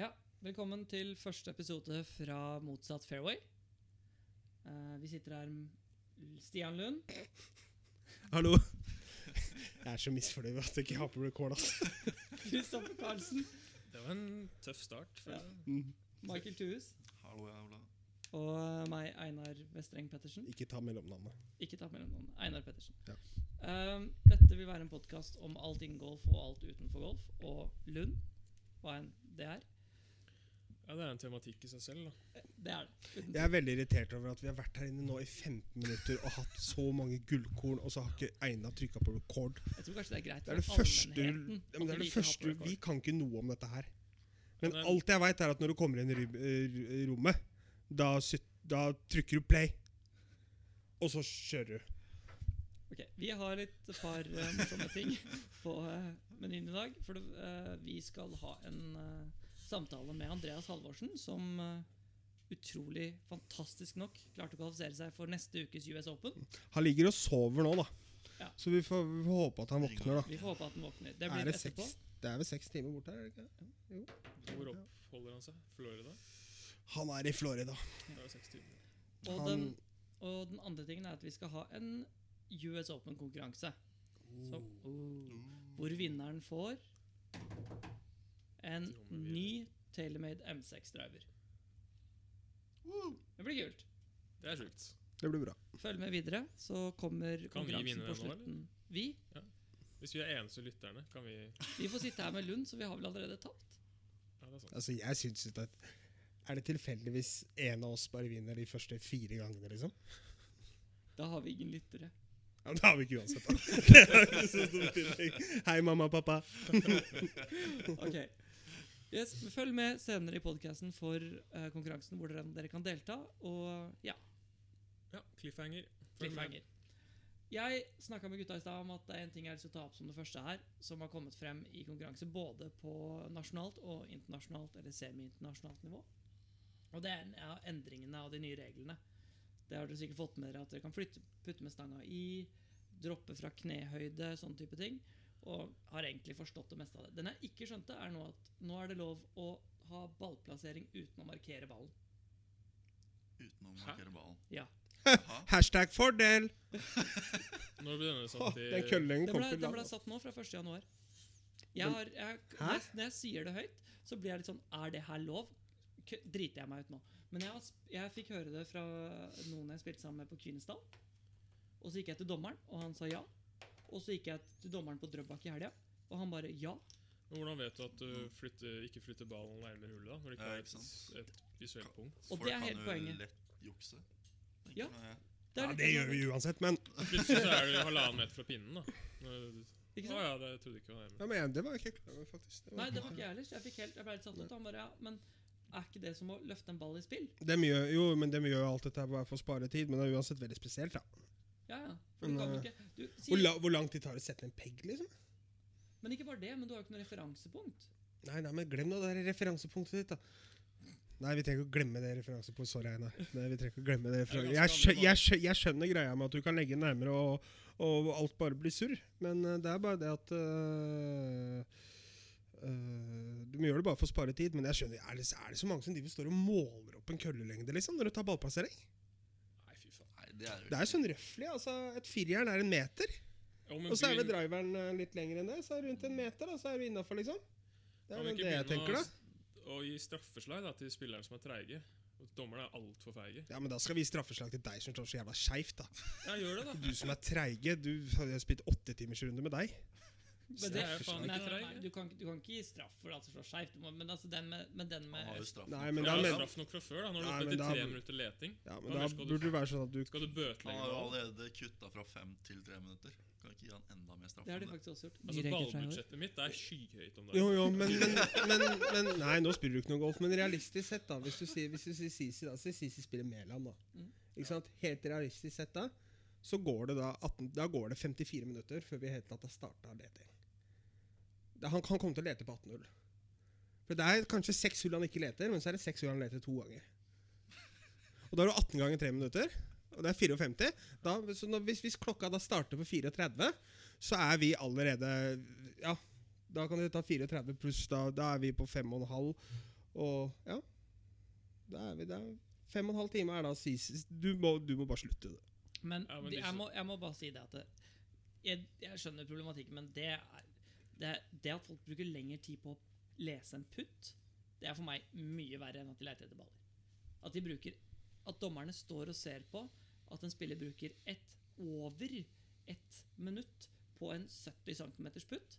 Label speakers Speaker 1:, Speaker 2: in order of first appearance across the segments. Speaker 1: Ja, velkommen til første episode fra Motsatt fairway. Eh, vi sitter her med Stian Lund.
Speaker 2: Hallo. Jeg er så misfornøyd med at jeg ikke har på record. Altså.
Speaker 1: Kristoffer Karlsen.
Speaker 3: Det var en tøff start. føler
Speaker 1: Ja.
Speaker 3: jeg.
Speaker 2: Mm.
Speaker 1: Michael Thues.
Speaker 4: Hallo, ja, Ola.
Speaker 1: Og meg, Einar Vestreng Pettersen.
Speaker 2: Ikke ta mellomnavnet.
Speaker 1: Ikke ta mellom noen. Einar Pettersen.
Speaker 2: Ja.
Speaker 1: Ehm, dette vil være en podkast om alt innen golf og alt utenfor golf. Og Lund, hva enn det er.
Speaker 3: Ja, Det er en tematikk i seg selv. da.
Speaker 1: Det er det. Uten
Speaker 2: Jeg er veldig irritert over at vi har vært her inne nå i 15 minutter og hatt så mange gullkorn, og så har ikke Einar trykka på record.
Speaker 1: Jeg tror kanskje det er greit
Speaker 2: Det er det
Speaker 1: for
Speaker 2: første du
Speaker 1: allmennheten
Speaker 2: ja, men
Speaker 1: at
Speaker 2: det er
Speaker 1: vi
Speaker 2: det
Speaker 1: ikke har på
Speaker 2: første
Speaker 1: record.
Speaker 2: Vi kan ikke noe om dette her. Men
Speaker 3: Nei.
Speaker 2: alt jeg veit, er at når du kommer inn i ry- eh, rommet, da, syt- da trykker du play. Og så kjører du.
Speaker 1: Ok, Vi har et par eh, morsomme ting på eh, menyen i dag. For det, eh, vi skal ha en eh, samtale med Andreas Halvorsen, som eh, utrolig fantastisk nok klarte å kvalifisere seg for neste ukes US Open.
Speaker 2: Han ligger og sover nå, da.
Speaker 1: Ja.
Speaker 2: Så vi får, vi får håpe at han våkner, da.
Speaker 1: Vi får håpe at han våkner. Det
Speaker 2: er
Speaker 1: blir
Speaker 2: det,
Speaker 1: etterpå.
Speaker 2: seks, det er vel seks timer bort her? er det ikke?
Speaker 3: Hvor oppholder han seg? Florida?
Speaker 2: Han er i Florida.
Speaker 3: Det er jo seks timer.
Speaker 1: Og
Speaker 2: Han-
Speaker 1: den, og den andre tingen er at vi skal ha en US Open-konkurranse. Så- oh. Hvor vinneren får en
Speaker 3: Trommevirvel.
Speaker 1: ny Tailormade M6-driver. Det blir kult.
Speaker 3: Det er sjukt.
Speaker 2: Det blir bra.
Speaker 1: Følg med videre, så kommer konkurransen
Speaker 3: vinne
Speaker 1: på
Speaker 3: den nå, eller?
Speaker 1: slutten. Vi?
Speaker 3: Hvis vi er eneste lytterne, kan vi Ja,
Speaker 1: Vi får sitte her med Lund, så vi har vel allerede tapt?
Speaker 3: det er sant.
Speaker 2: Altså, jeg syns ikke at Er det tilfeldigvis en av oss bare vinner de første fire gangene, liksom?
Speaker 1: Da har vi ingen lyttere.
Speaker 2: Ja, men Det har vi ikke uansett, da. Det er ikke så stor tillegg. Hei, mamma og pappa.
Speaker 1: Ok. Yes, men følg med senere i podkasten for eh, konkurransen hvor dere, dere kan delta. Og ja,
Speaker 3: Ja, cliffhanger. Følg med.
Speaker 1: cliffhanger. Jeg snakka med gutta i stad om at det er en ting jeg har lyst til å ta opp som det første her, som har kommet frem i konkurranse både på nasjonalt og internasjonalt, eller semi-internasjonalt nivå. Og det er en av endringene av de nye reglene. Det har dere sikkert fått med dere at dere kan flytte, putte med stanga i, droppe fra knehøyde, sånne type ting. Og har egentlig forstått det meste av det. Den jeg ikke skjønte, er nå at nå er det lov å ha ballplassering uten å markere ballen.
Speaker 4: Uten å
Speaker 3: Hæ?
Speaker 4: markere ballen.
Speaker 1: Ja.
Speaker 4: Jaha.
Speaker 2: Hashtag fordel!
Speaker 3: Når ble denne
Speaker 2: Å,
Speaker 3: satt i
Speaker 2: den køllingen
Speaker 1: Den
Speaker 2: kom
Speaker 1: ble,
Speaker 2: til
Speaker 1: den ble sånn.
Speaker 2: land.
Speaker 1: satt nå fra 1. januar. Jeg
Speaker 2: Men-
Speaker 1: har, jeg,
Speaker 2: Hæ?
Speaker 1: når, jeg, når jeg sier det høyt, så blir jeg litt sånn Er det her lov? K driter jeg meg ut nå. Men jeg, har sp- jeg fikk høre det fra noen jeg spilte sammen med på Kvinesdal. Og så gikk jeg til dommeren, og han sa ja. Og så gikk jeg til dommeren på Drøbak i helga, og han bare ja.
Speaker 3: Men Hvordan vet du at du flytter, ikke flytter ballen nærmere hullet? da? Når det ikke
Speaker 4: Ja,
Speaker 3: er
Speaker 4: ikke sant.
Speaker 3: et, et visuelt punkt.
Speaker 1: Og
Speaker 4: Folk
Speaker 1: det er
Speaker 4: kan
Speaker 1: helt
Speaker 4: jo
Speaker 1: poenget.
Speaker 4: lett jukse. tenker
Speaker 1: Ja.
Speaker 4: nå
Speaker 1: er
Speaker 4: jeg.
Speaker 2: Ja,
Speaker 1: litt
Speaker 2: det
Speaker 1: sånn-
Speaker 2: gjør vi uansett, men
Speaker 3: Plutselig så er du halvannen meter fra pinnen. da. Når du-
Speaker 1: Ikke
Speaker 3: Å
Speaker 1: sant?
Speaker 3: ja, det trodde jeg ikke var nærmere.
Speaker 2: ja, men jeg- Det var jeg ikke klar over, faktisk. Det,
Speaker 1: Nei,
Speaker 2: var...
Speaker 1: det var ikke jeg heller. så Jeg, fikk helt, jeg ble litt satt ut. og Han bare ja, men er ikke det som å løfte en ball i spill?
Speaker 2: Dem gjør, jo, men dem gjør jo alt dette her bare for å spare tid, men det er uansett veldig spesielt, da.
Speaker 1: Ja, ja. For du kan jo
Speaker 2: Nei.
Speaker 1: ikke du, si,
Speaker 2: eh, Hvor, la, hvor lang tid tar det å sette en peg, liksom?
Speaker 1: Men ikke bare det, men du har jo ikke noe referansepunkt.
Speaker 2: Nei, nei, men glem det der referansepunktet ditt, da. Nei, vi trenger ikke å glemme det referansepunktet. Sorry, Einar. Nei, vi trenger ikke å glemme det referansepunktet. Jeg, skjø- jeg, skjø- jeg skjønner greia med at du kan legge den nærmere, og, og alt bare blir surr. Men eh, det er bare det at eh, eh, Du gjør det bare for å spare tid. Men jeg skjønner, er det, er det så mange som driver og står og måler opp en køllelengde liksom, når du tar ballplassering?
Speaker 3: Nei, fy faen.
Speaker 4: Nei, det er jo
Speaker 2: Det er jo sånn røffelig. Altså, et firjern er en meter.
Speaker 3: Ja, men
Speaker 2: Og så er vel
Speaker 3: begynn-
Speaker 2: driveren eh, litt lengre enn det. Så er det rundt en meter, da, så er du innafor, liksom. Det
Speaker 3: kan
Speaker 2: er
Speaker 3: vi
Speaker 2: vel
Speaker 3: ikke
Speaker 2: det jeg
Speaker 3: begynne å
Speaker 2: tenker, da.
Speaker 3: s- Å gi straffeslag da, til spillerne som er treige. Og Dommerne er altfor feige.
Speaker 2: Ja, men da skal vi gi straffeslag til deg som står så jævla skeivt, da.
Speaker 3: Ja, gjør det, da.
Speaker 2: Du som er treige. Du har jo spilt åttetimersrunde med deg.
Speaker 1: Men det er
Speaker 3: jo faen
Speaker 1: Nei,
Speaker 3: ikke
Speaker 1: nei,
Speaker 3: treig.
Speaker 1: nei, du, kan, ikke- du kan ikke gi straff for at det slår skeivt. du må- Men altså den med, men den
Speaker 4: Han har
Speaker 1: med
Speaker 4: jo straff.
Speaker 2: Nei, men
Speaker 3: Ja,
Speaker 2: da,
Speaker 3: men,
Speaker 2: men,
Speaker 3: straff nok fra før, da. Når du
Speaker 2: Nei,
Speaker 3: er
Speaker 2: men
Speaker 3: oppe til
Speaker 2: da-
Speaker 3: tre minutter leting,
Speaker 2: ja, men
Speaker 3: Hva
Speaker 2: da
Speaker 3: mer skal du-
Speaker 2: burde det være sånn at du
Speaker 3: skal du
Speaker 4: Han
Speaker 3: bøtelegge
Speaker 4: har
Speaker 3: ballen.
Speaker 4: allerede kutta fra fem til tre minutter. Kan ikke gi han enda mer straff.
Speaker 1: Det har de
Speaker 4: enn
Speaker 1: faktisk også gjort.
Speaker 3: Altså,
Speaker 1: Ny regel fra i år.
Speaker 3: Ballbudsjettet mitt er skyhøyt om
Speaker 2: Jo,
Speaker 3: dagen.
Speaker 2: jo, men, men, men, men Nei, nå spiller du ikke noe golf, men realistisk sett, da. Hvis du sier, hvis du sier Sisi, da, så sier Sisi spiller Mæland, da.
Speaker 1: Mm.
Speaker 2: Ikke sant? Helt realistisk sett, da, så går det da 18, Da går det 54 minutter før vi helt tatt har starta leting. Da- Han kan komme til å lete på 18 hull. For det er kanskje seks hull han ikke leter, men så er det seks hull han leter to ganger. Og da har du 18 ganger 3 minutter, og det er 54. Da, så når, hvis, hvis klokka da starter på 34, så er vi allerede Ja, da kan det ta 34 pluss, da, da er vi på 5,5. Og ja, da er vi der. Fem og en halv time er da sist. Du må, du må bare slutte.
Speaker 1: Men,
Speaker 3: Ja, men
Speaker 1: det-
Speaker 3: disse-
Speaker 1: jeg, må, jeg må bare si det at det, jeg, jeg skjønner problematikken, men det, er, det, det at folk bruker lengre tid på å lese en putt, det er for meg mye verre enn at de leter etter baller. At, de bruker, at dommerne står og ser på at en spiller bruker ett over ett minutt på en 70 cm putt.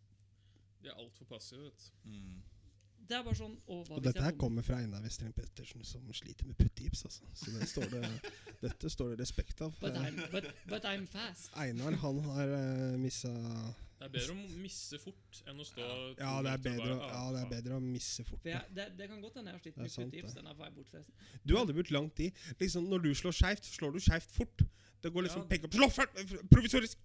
Speaker 3: De er altfor passive, vet du.
Speaker 4: Mm.
Speaker 1: Det er bare sånn Og hva
Speaker 2: Og
Speaker 1: hvis
Speaker 2: dette her
Speaker 1: jeg bommer?
Speaker 2: kommer fra Einar Westring Pettersen, som sliter med puttegips. Altså. Så det står det, dette står det respekt av.
Speaker 1: But I'm, but, but I'm fast.
Speaker 2: Einar, han har uh, missa
Speaker 3: Det er bedre å misse fort enn å stå to
Speaker 2: ja det, er
Speaker 3: minutter og
Speaker 2: bedre, å-
Speaker 3: bare,
Speaker 2: ja,
Speaker 3: ah,
Speaker 2: det er
Speaker 3: faen.
Speaker 2: bedre å misse fort.
Speaker 1: For jeg, det, det kan godt hende jeg har slitt
Speaker 2: Det er
Speaker 1: med
Speaker 2: sant,
Speaker 1: puttegips.
Speaker 2: det.
Speaker 1: Den her får jeg bort, forresten.
Speaker 2: Du har aldri brukt lang tid. Liksom, når du slår skeivt, slår du skeivt fort. Det går liksom
Speaker 3: Ja.
Speaker 2: peke opp Slå fælt! Provisorisk!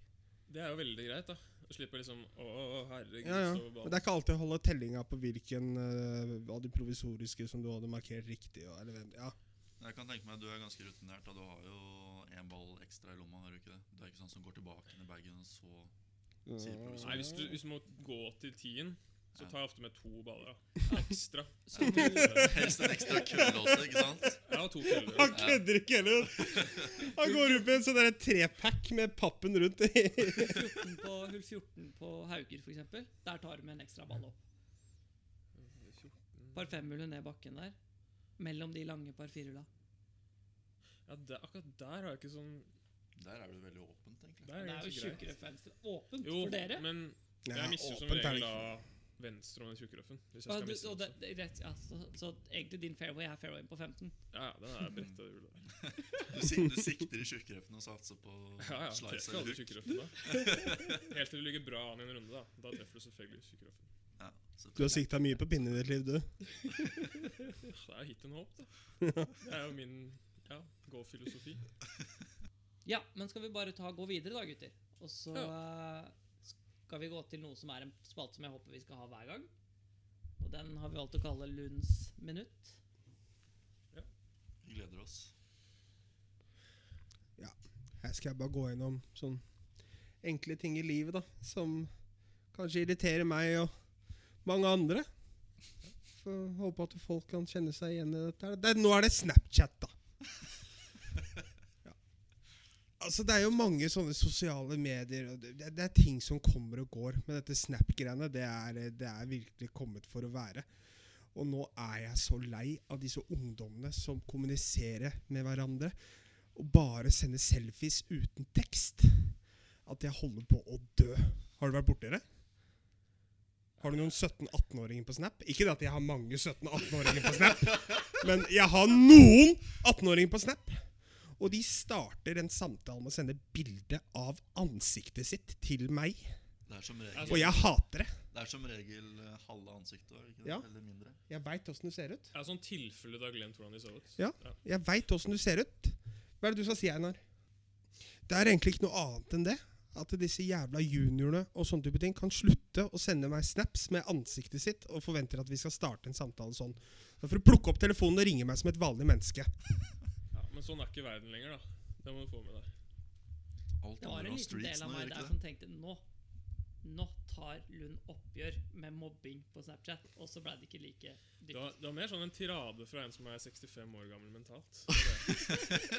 Speaker 3: Det er jo veldig greit, da. Å slippe liksom Å, å, herregud,
Speaker 2: Ja, ja.
Speaker 3: så
Speaker 2: Men det er ikke alltid å holde tellinga på hvilken eh, av de provisoriske som du hadde markert riktig. Og, eller, hvem- ja.
Speaker 4: Jeg kan tenke meg at Du er ganske rutinert. da Du har jo én ball ekstra i lomma. har du ikke det? Du er ikke sånn som går tilbake inn i bagen og så Sier provisorisk.
Speaker 3: Nei, hvis du, hvis du må gå til tien, så
Speaker 4: Ja.
Speaker 3: tar jeg ofte med to baller da. ekstra.
Speaker 1: Så
Speaker 4: Ja.
Speaker 1: du,
Speaker 4: Helst en ekstra kølle også, ikke sant?
Speaker 3: Jeg har to køller.
Speaker 2: Han kødder ikke heller! Han går ut med en sånn der trepack med pappen rundt. i-
Speaker 1: 14 på, hull 14 på Hauger, for eksempel Der tar du med en ekstra ball opp. Par femhullet ned bakken der. Mellom de lange par firehulla.
Speaker 3: Ja, det, akkurat der har jeg ikke sånn
Speaker 4: Der er det veldig åpent, egentlig.
Speaker 3: Der
Speaker 1: Det er jo
Speaker 3: ganske greit.
Speaker 1: tjukkere fans. Åpent
Speaker 3: Jo,
Speaker 1: for dere.
Speaker 3: men
Speaker 2: Ja,
Speaker 3: jeg mister jo som
Speaker 2: åpent er det
Speaker 3: regel da
Speaker 2: ikke.
Speaker 3: venstre om den tjukke røffen. Hvis jeg
Speaker 1: Ja,
Speaker 3: skal
Speaker 1: du,
Speaker 3: miste
Speaker 1: og
Speaker 3: den,
Speaker 1: det,
Speaker 3: så.
Speaker 1: det, er rett, ja, så, så egentlig din fairway er fairwayen på 15.
Speaker 3: Ja, ja, den er brett og hjul. da.
Speaker 4: Du, sik du sikter i tjukkreften og satser på
Speaker 3: Ja, ja,
Speaker 4: slice
Speaker 3: treffer
Speaker 4: eller
Speaker 3: aldri
Speaker 4: hook.
Speaker 3: tjukke røffen da. Helt til du ligger bra an i en runde, da. Da treffer du selvfølgelig tjukke røffen.
Speaker 4: Ja, så
Speaker 2: Du har sikta mye på pinnen i ditt liv, du.
Speaker 3: Det er jo hit and hope, da. Det er jo min ja, go-filosofi.
Speaker 1: Ja, men skal vi bare ta gå videre da, gutter? Og så eh, skal vi gå til noe som er en spalte som jeg håper vi skal ha hver gang. Og den har vi valgt å kalle Lunds minutt.
Speaker 4: Vi gleder oss.
Speaker 2: Her skal jeg bare gå gjennom sånn enkle ting i livet, da. Som kanskje irriterer meg og mange andre. Får håpe at folk kan kjenne seg igjen i dette. her. Det, nå er det Snapchat, da. Ja. Altså, Det er jo mange sånne sosiale medier. og Det, det er ting som kommer og går. Men dette Snap-greiene det er, det er virkelig kommet for å være. Og nå er jeg så lei av disse ungdommene som kommuniserer med hverandre og bare sende selfies uten tekst, at jeg holder på å dø. Har du vært borti det? Har du noen 17-18-åringer på Snap? Ikke det at jeg har mange 17-18-åringer på Snap, men jeg har noen 18-åringer på Snap. Og de starter en samtale med å sende bilde av ansiktet sitt til meg.
Speaker 4: Det er som
Speaker 3: Altså,
Speaker 4: regel,
Speaker 2: Og jeg hater det.
Speaker 4: det er som regel eh, halve ansiktet var, ikke det?
Speaker 2: Ja.
Speaker 4: Eller mindre.
Speaker 2: Jeg veit åssen du ser ut.
Speaker 3: Det er sånn tilfelle du har glemt hvordan de så ut.
Speaker 2: Ja. Jeg veit åssen du ser ut. Hva er det du skal si, Einar? Det er egentlig ikke noe annet enn det. At disse jævla juniorene og sånne type ting kan slutte å sende meg snaps med ansiktet sitt og forventer at vi skal starte en samtale sånn. Da får du plukke opp telefonen og ringe meg som et vanlig menneske.
Speaker 3: Ja, men sånn er ikke verden lenger, da. Det må du få med deg.
Speaker 4: Alt
Speaker 1: Det var
Speaker 4: handler
Speaker 1: en
Speaker 4: om
Speaker 1: liten
Speaker 4: streets
Speaker 1: del av
Speaker 4: nå,
Speaker 1: meg
Speaker 4: gjør
Speaker 1: der
Speaker 4: ikke det?
Speaker 1: som tenkte nå nå tar Lund oppgjør med mobbing på Snapchat, og så ble det ikke like
Speaker 3: Det
Speaker 1: dypt.
Speaker 3: var, det var mer sånn en tirade fra en som er 65 år gammel mentalt.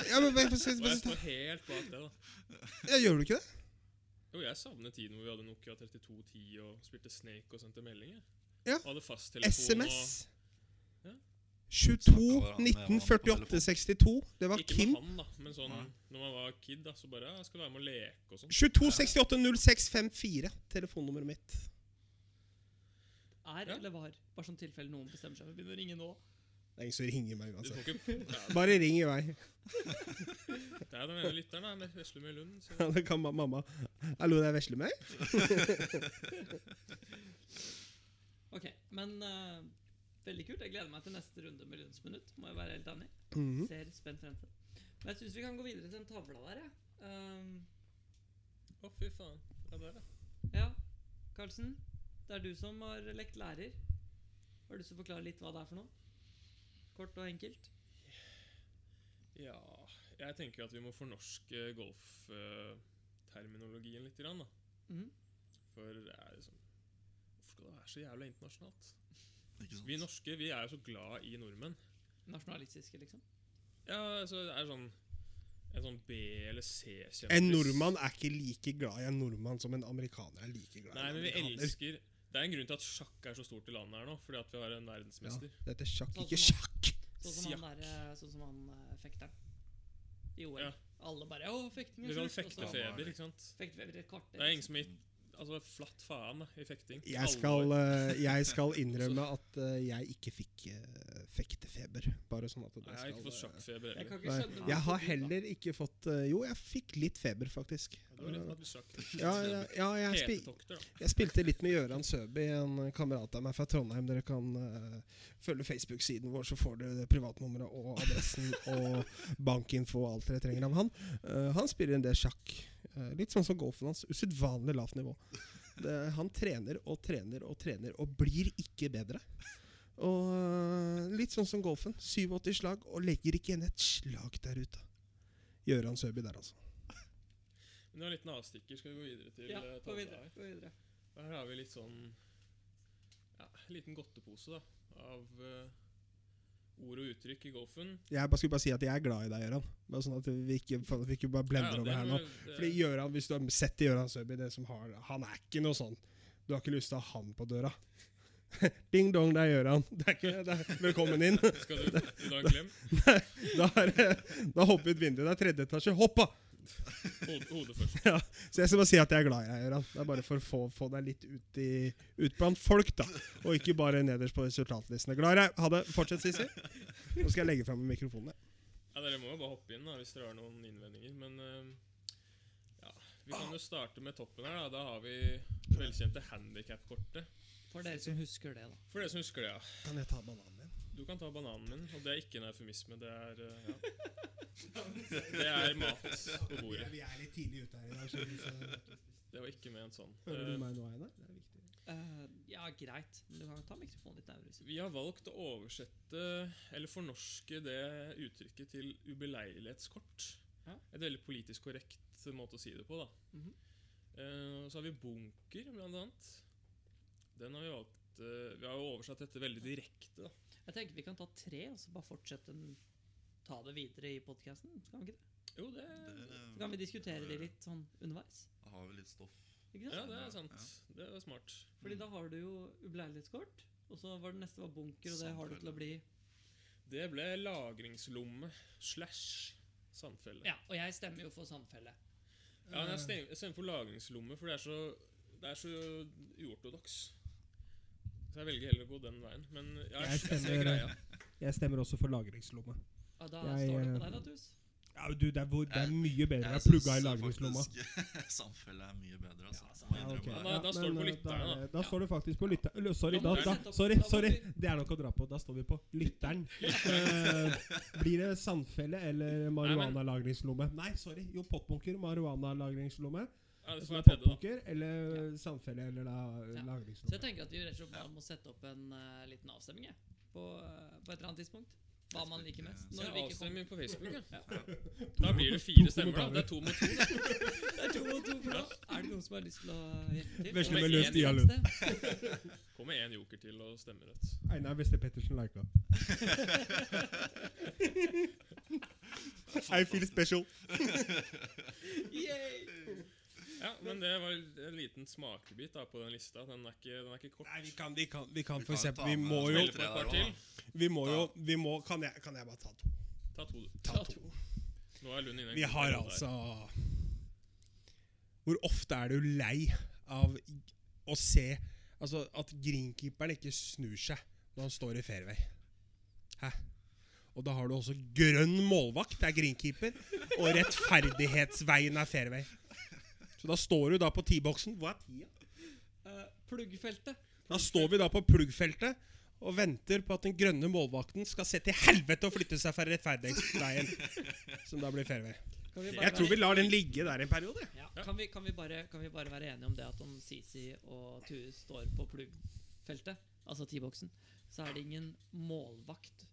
Speaker 2: Ja, men hva- hva-
Speaker 3: Og jeg
Speaker 2: hva-
Speaker 3: står helt bak det, da.
Speaker 2: ja, Gjør du ikke det?
Speaker 3: Jo, jeg savner tiden hvor vi hadde Nokia 3210 og spilte Snake og sendte meldinger.
Speaker 2: Ja.
Speaker 3: Og hadde fasttelefon
Speaker 2: SMS.
Speaker 3: Ja.
Speaker 2: 22 1948 62. Det var
Speaker 3: og Ikke
Speaker 2: Kim.
Speaker 3: med han, da, men sånn når man var kid, da, så bare ja, jeg skal være med og leke og sånn.
Speaker 2: 22 68 0654. Telefonnummeret mitt.
Speaker 1: Er
Speaker 3: Ja.
Speaker 1: eller var? Bare sånn tilfelle noen bestemmer seg for å begynne å ringe nå.
Speaker 2: Det er ingen som ringer meg
Speaker 3: Du
Speaker 2: uansett.
Speaker 3: får ikke ja,
Speaker 2: Bare ring i vei.
Speaker 3: Det er den ene lytteren, da. Med vesle med Lund. Så.
Speaker 2: Ja, det kan ma- mamma. Hallo, det er vesle meg?
Speaker 1: Ok, men eh, veldig kult. Jeg gleder meg til neste runde med Lunds minutt, må jeg være helt enig.
Speaker 4: Mm.
Speaker 1: Ser spent frem til. Men jeg syns vi kan gå videre til den tavla der, jeg. Ehm,
Speaker 3: Å, fy faen. Ja, der, ja.
Speaker 1: ja, Karlsen. Det er du som har lekt lærer. Har du lyst til å forklare litt hva det er for noe? Kort og enkelt.
Speaker 3: Ja Jeg tenker jo at vi må fornorske golfterminologien litt. Grann, da.
Speaker 1: Mhm.
Speaker 3: For det er liksom Hvorfor skal det være så jævla internasjonalt?
Speaker 4: Ikke sant?
Speaker 3: Vi norske vi er jo så glad i nordmenn.
Speaker 1: Nasjonalistiske, liksom.
Speaker 3: Ja, altså, det er sånn En sånn B- eller C-kjendis.
Speaker 2: En nordmann er ikke like glad i en nordmann som en amerikaner er like glad i
Speaker 3: Nei,
Speaker 2: en
Speaker 3: men vi
Speaker 2: amerikaner.
Speaker 3: elsker Det er en grunn til at sjakk er så stort i landet her nå, fordi at vi har en verdensmester.
Speaker 2: Ja, dette er sjakk,
Speaker 1: Sånn
Speaker 2: ikke
Speaker 1: som
Speaker 2: sjakk!
Speaker 1: Sånn som han, der, eh, sånn som han eh, fekteren i OL.
Speaker 3: Ja.
Speaker 1: Alle bare 'Å, fekting
Speaker 3: Vi
Speaker 1: er
Speaker 3: kan
Speaker 1: slutt», og så
Speaker 4: fekte.
Speaker 3: fektefeber, ikke sant?
Speaker 1: Fekter vi over et kvarter.
Speaker 3: Det er ingen
Speaker 1: liksom.
Speaker 3: som har
Speaker 4: Mm,
Speaker 3: gitt altså, flatt faen da, i fekting.
Speaker 2: Jeg skal,
Speaker 3: Alvor.
Speaker 2: eh, jeg skal innrømme at eh, jeg ikke fikk eh, fektefeber. Bare sånn at det
Speaker 3: Nei, Jeg har ikke
Speaker 2: skal eh,
Speaker 3: fått sjakkfeber
Speaker 1: Jeg
Speaker 3: heller.
Speaker 1: kan ikke skjønne
Speaker 2: Nei.
Speaker 1: det.
Speaker 2: Jeg har heller ikke fått eh, Jo, jeg fikk litt feber, faktisk.
Speaker 3: Du har rett på at du sjakk.
Speaker 2: Ja, ja, ja jeg, spi
Speaker 3: Hetetokter, da.
Speaker 2: jeg spilte litt med Gøran Søby, en kamerat av meg fra Trondheim. Dere kan eh, følge Facebook-siden vår, så får dere det privatnummeret og adressen og bankinfo og alt dere trenger av han. Eh, han spiller en del sjakk. Eh, litt sånn som golfen hans. Usedvanlig lavt nivå. Det, han trener og trener og trener og blir ikke bedre. Og eh, litt sånn som golfen. 87 slag og legger ikke igjen et slag der ute. Gøran Søby der, altså.
Speaker 3: Men det var en liten avstikker. Skal vi gå videre til
Speaker 1: Ja,
Speaker 3: eh,
Speaker 1: gå
Speaker 3: tavla
Speaker 1: videre.
Speaker 3: her?
Speaker 1: Gå videre.
Speaker 3: Her har vi litt sånn ja, liten godtepose da, av eh, ord og uttrykk i golfen.
Speaker 2: Jeg bare skulle bare si at jeg er glad i deg, Gøran. Bare sånn at vi ikke, vi ikke bare blender
Speaker 3: Ja, eh, ja, det
Speaker 2: over her nå.
Speaker 3: må- det-
Speaker 2: Fordi Gjøran, Hvis du har sett Gøran Søby, det som har, han er ikke noe sånn. Du har ikke lyst til å ha han på døra. Ding dong, det er Gjøran. Det er ikke, det er, velkommen inn.
Speaker 3: Skal du, vil du ha en klem?
Speaker 2: Da er det- da hopper ut vinduet. Det er tredje etasje. Hopp, da!
Speaker 3: Hode, hodet først.
Speaker 2: Så jeg skal bare si at jeg er glad i deg, Gjøran. Det er bare for å få, få deg litt ut, i, ut blant folk, da. Og ikke bare nederst på resultatlistene. Glad i deg. Ha det. Fortsett, Sissy. Nå skal jeg legge fram mikrofonene.
Speaker 3: Ja, dere må jo bare hoppe inn da, hvis dere har noen innvendinger. Men eh, ja, vi kan jo starte med toppen her. Da, da har vi det velkjente handikap-kortet.
Speaker 1: For dere som husker det, da.
Speaker 3: For dere som husker det, ja.
Speaker 2: Kan jeg ta bananen din?
Speaker 3: Du kan ta bananen min. Og det er ikke en eufemisme. Det er, eh, ja. det er mat på bordet.
Speaker 2: Vi er litt tidlig ute her i dag.
Speaker 3: Det var ikke ment sånn.
Speaker 2: Hører du
Speaker 3: Eh,
Speaker 2: meg nå, Einar? Det er viktig.
Speaker 1: Eh, ja, greit. Men du kan ta mikrofonen litt nærmere. hvis du-
Speaker 3: Eh, vi har valgt å oversette, eller fornorske, det uttrykket til ubeleilighetskort.
Speaker 1: Ja.
Speaker 3: Et veldig politisk korrekt måte å si det på, da.
Speaker 1: Mhm.
Speaker 3: Eh, og så har vi bunker, blant annet. Den har vi valgt eh, Vi har jo oversatt dette veldig direkte, da.
Speaker 1: Jeg tenker vi kan ta tre, og så bare fortsette en Ta det videre i podkasten. Kan vi ikke det?
Speaker 3: Jo, det,
Speaker 1: Så kan vi diskutere det litt sånn underveis.
Speaker 4: Da har vi litt stoff.
Speaker 1: Ikke
Speaker 3: Ja,
Speaker 1: sant?
Speaker 3: det er sant. Det er smart.
Speaker 1: Fordi da har du jo ubeleilighetskort, og så var det neste var bunker, og det har du til å bli
Speaker 3: Det ble lagringslomme slash sandfelle.
Speaker 1: Ja, og jeg stemmer jo for sandfelle.
Speaker 3: Ja, men jeg stem- jeg stemmer for lagringslomme, for det er så, det er så uortodoks. Så jeg velger heller å gå den veien. Men jeg,
Speaker 2: Jeg
Speaker 3: jeg, jeg ser
Speaker 2: stemmer-
Speaker 3: greia.
Speaker 2: Jeg stemmer også for lagringslomme.
Speaker 1: Og da
Speaker 2: Jeg,
Speaker 1: står det
Speaker 2: eh,
Speaker 1: på deg, da, Tus.
Speaker 2: Ja, du, det er, hvor, det er mye bedre å
Speaker 4: Jeg
Speaker 2: plugge i
Speaker 4: syns
Speaker 2: lagringslomma.
Speaker 4: faktisk Samfelle er mye bedre, altså.
Speaker 2: Ja,
Speaker 4: Må jeg
Speaker 2: ok.
Speaker 4: innrømme.
Speaker 3: Da- da
Speaker 2: Ja,
Speaker 3: står det på
Speaker 2: men, eh,
Speaker 3: lytteren,
Speaker 2: da er
Speaker 3: da.
Speaker 2: det- Da står det faktisk på lytteren. Lø- Sorry,
Speaker 1: Da må
Speaker 2: da,
Speaker 1: vi
Speaker 2: da,
Speaker 1: sette opp-
Speaker 2: sorry,
Speaker 1: da må
Speaker 2: sorry.
Speaker 1: vi-
Speaker 2: Det er nok å dra på. Da står vi på lytteren. Eh, blir det sandfelle eller marihuanalagringslomme? Nei, sorry. Jo, pottbunker, marihuanalagringslomme.
Speaker 3: Ja, det
Speaker 2: Som
Speaker 3: får
Speaker 2: er
Speaker 3: være tredje, da.
Speaker 2: pottbunker eller sandfelle eller da, eh,
Speaker 1: Ja. Så jeg
Speaker 2: lagringslomme.
Speaker 1: tenker at vi rett og slett bare må sette opp en eh, liten avstemning jeg, på, eh, på et eller annet tidspunkt. Hva man liker mest. Når vi
Speaker 3: Så jeg
Speaker 1: ikke kommer.
Speaker 3: avstemmer på Facebook, ja.
Speaker 1: Ja.
Speaker 3: Da blir det fire
Speaker 2: to
Speaker 3: stemmer, da.
Speaker 2: kommentarer.
Speaker 3: Det er to mot to. da.
Speaker 1: Det er to mot to for nå. Er det noen som har lyst til å hjelpe til?
Speaker 2: Vesle
Speaker 3: med
Speaker 1: Og
Speaker 3: løs
Speaker 1: en
Speaker 2: dialog.
Speaker 1: eneste.
Speaker 3: Kommer én joker til og stemmer rett.
Speaker 2: Einar Weste Pettersen lika. I feel special.
Speaker 1: Yay!
Speaker 3: Ja, men det var en liten smakebit da på den lista. Den er ikke, den er ikke kort.
Speaker 2: Nei, vi kan, vi kan, vi kan
Speaker 4: Vi
Speaker 2: for
Speaker 4: kan
Speaker 2: eksempel
Speaker 4: ta
Speaker 2: Vi
Speaker 4: med
Speaker 2: må jo
Speaker 4: spille
Speaker 3: Velg på et par til.
Speaker 2: Vi må jo vi må, kan, jeg, kan jeg bare ta to?
Speaker 3: Ta to, du.
Speaker 2: Ta to.
Speaker 3: Nå er Lund inne i en
Speaker 2: Vi
Speaker 3: god
Speaker 2: har
Speaker 3: periode her.
Speaker 2: altså Hvor ofte er du lei av å se altså, at greenkeeperen ikke snur seg når han står i fairway? Hæ? Og da har du også grønn målvakt, det er greenkeeper, og rettferdighetsveien er fairway. Så da står du da på T-boksen. Hva er tida?
Speaker 1: Eh, Pluggfeltet.
Speaker 2: Da står vi da på pluggfeltet og venter på at den grønne målvakten skal se til helvete og flytte seg fra rettferdighetsveien, som da blir fairway.
Speaker 1: Kan vi
Speaker 2: Jeg tror vi lar den ligge der en periode. jeg.
Speaker 1: ja. kan, vi, kan, vi bare, kan vi bare være enige om det at om Sisi og Tue står på pluggfeltet, altså T-boksen, så er det ingen målvakt,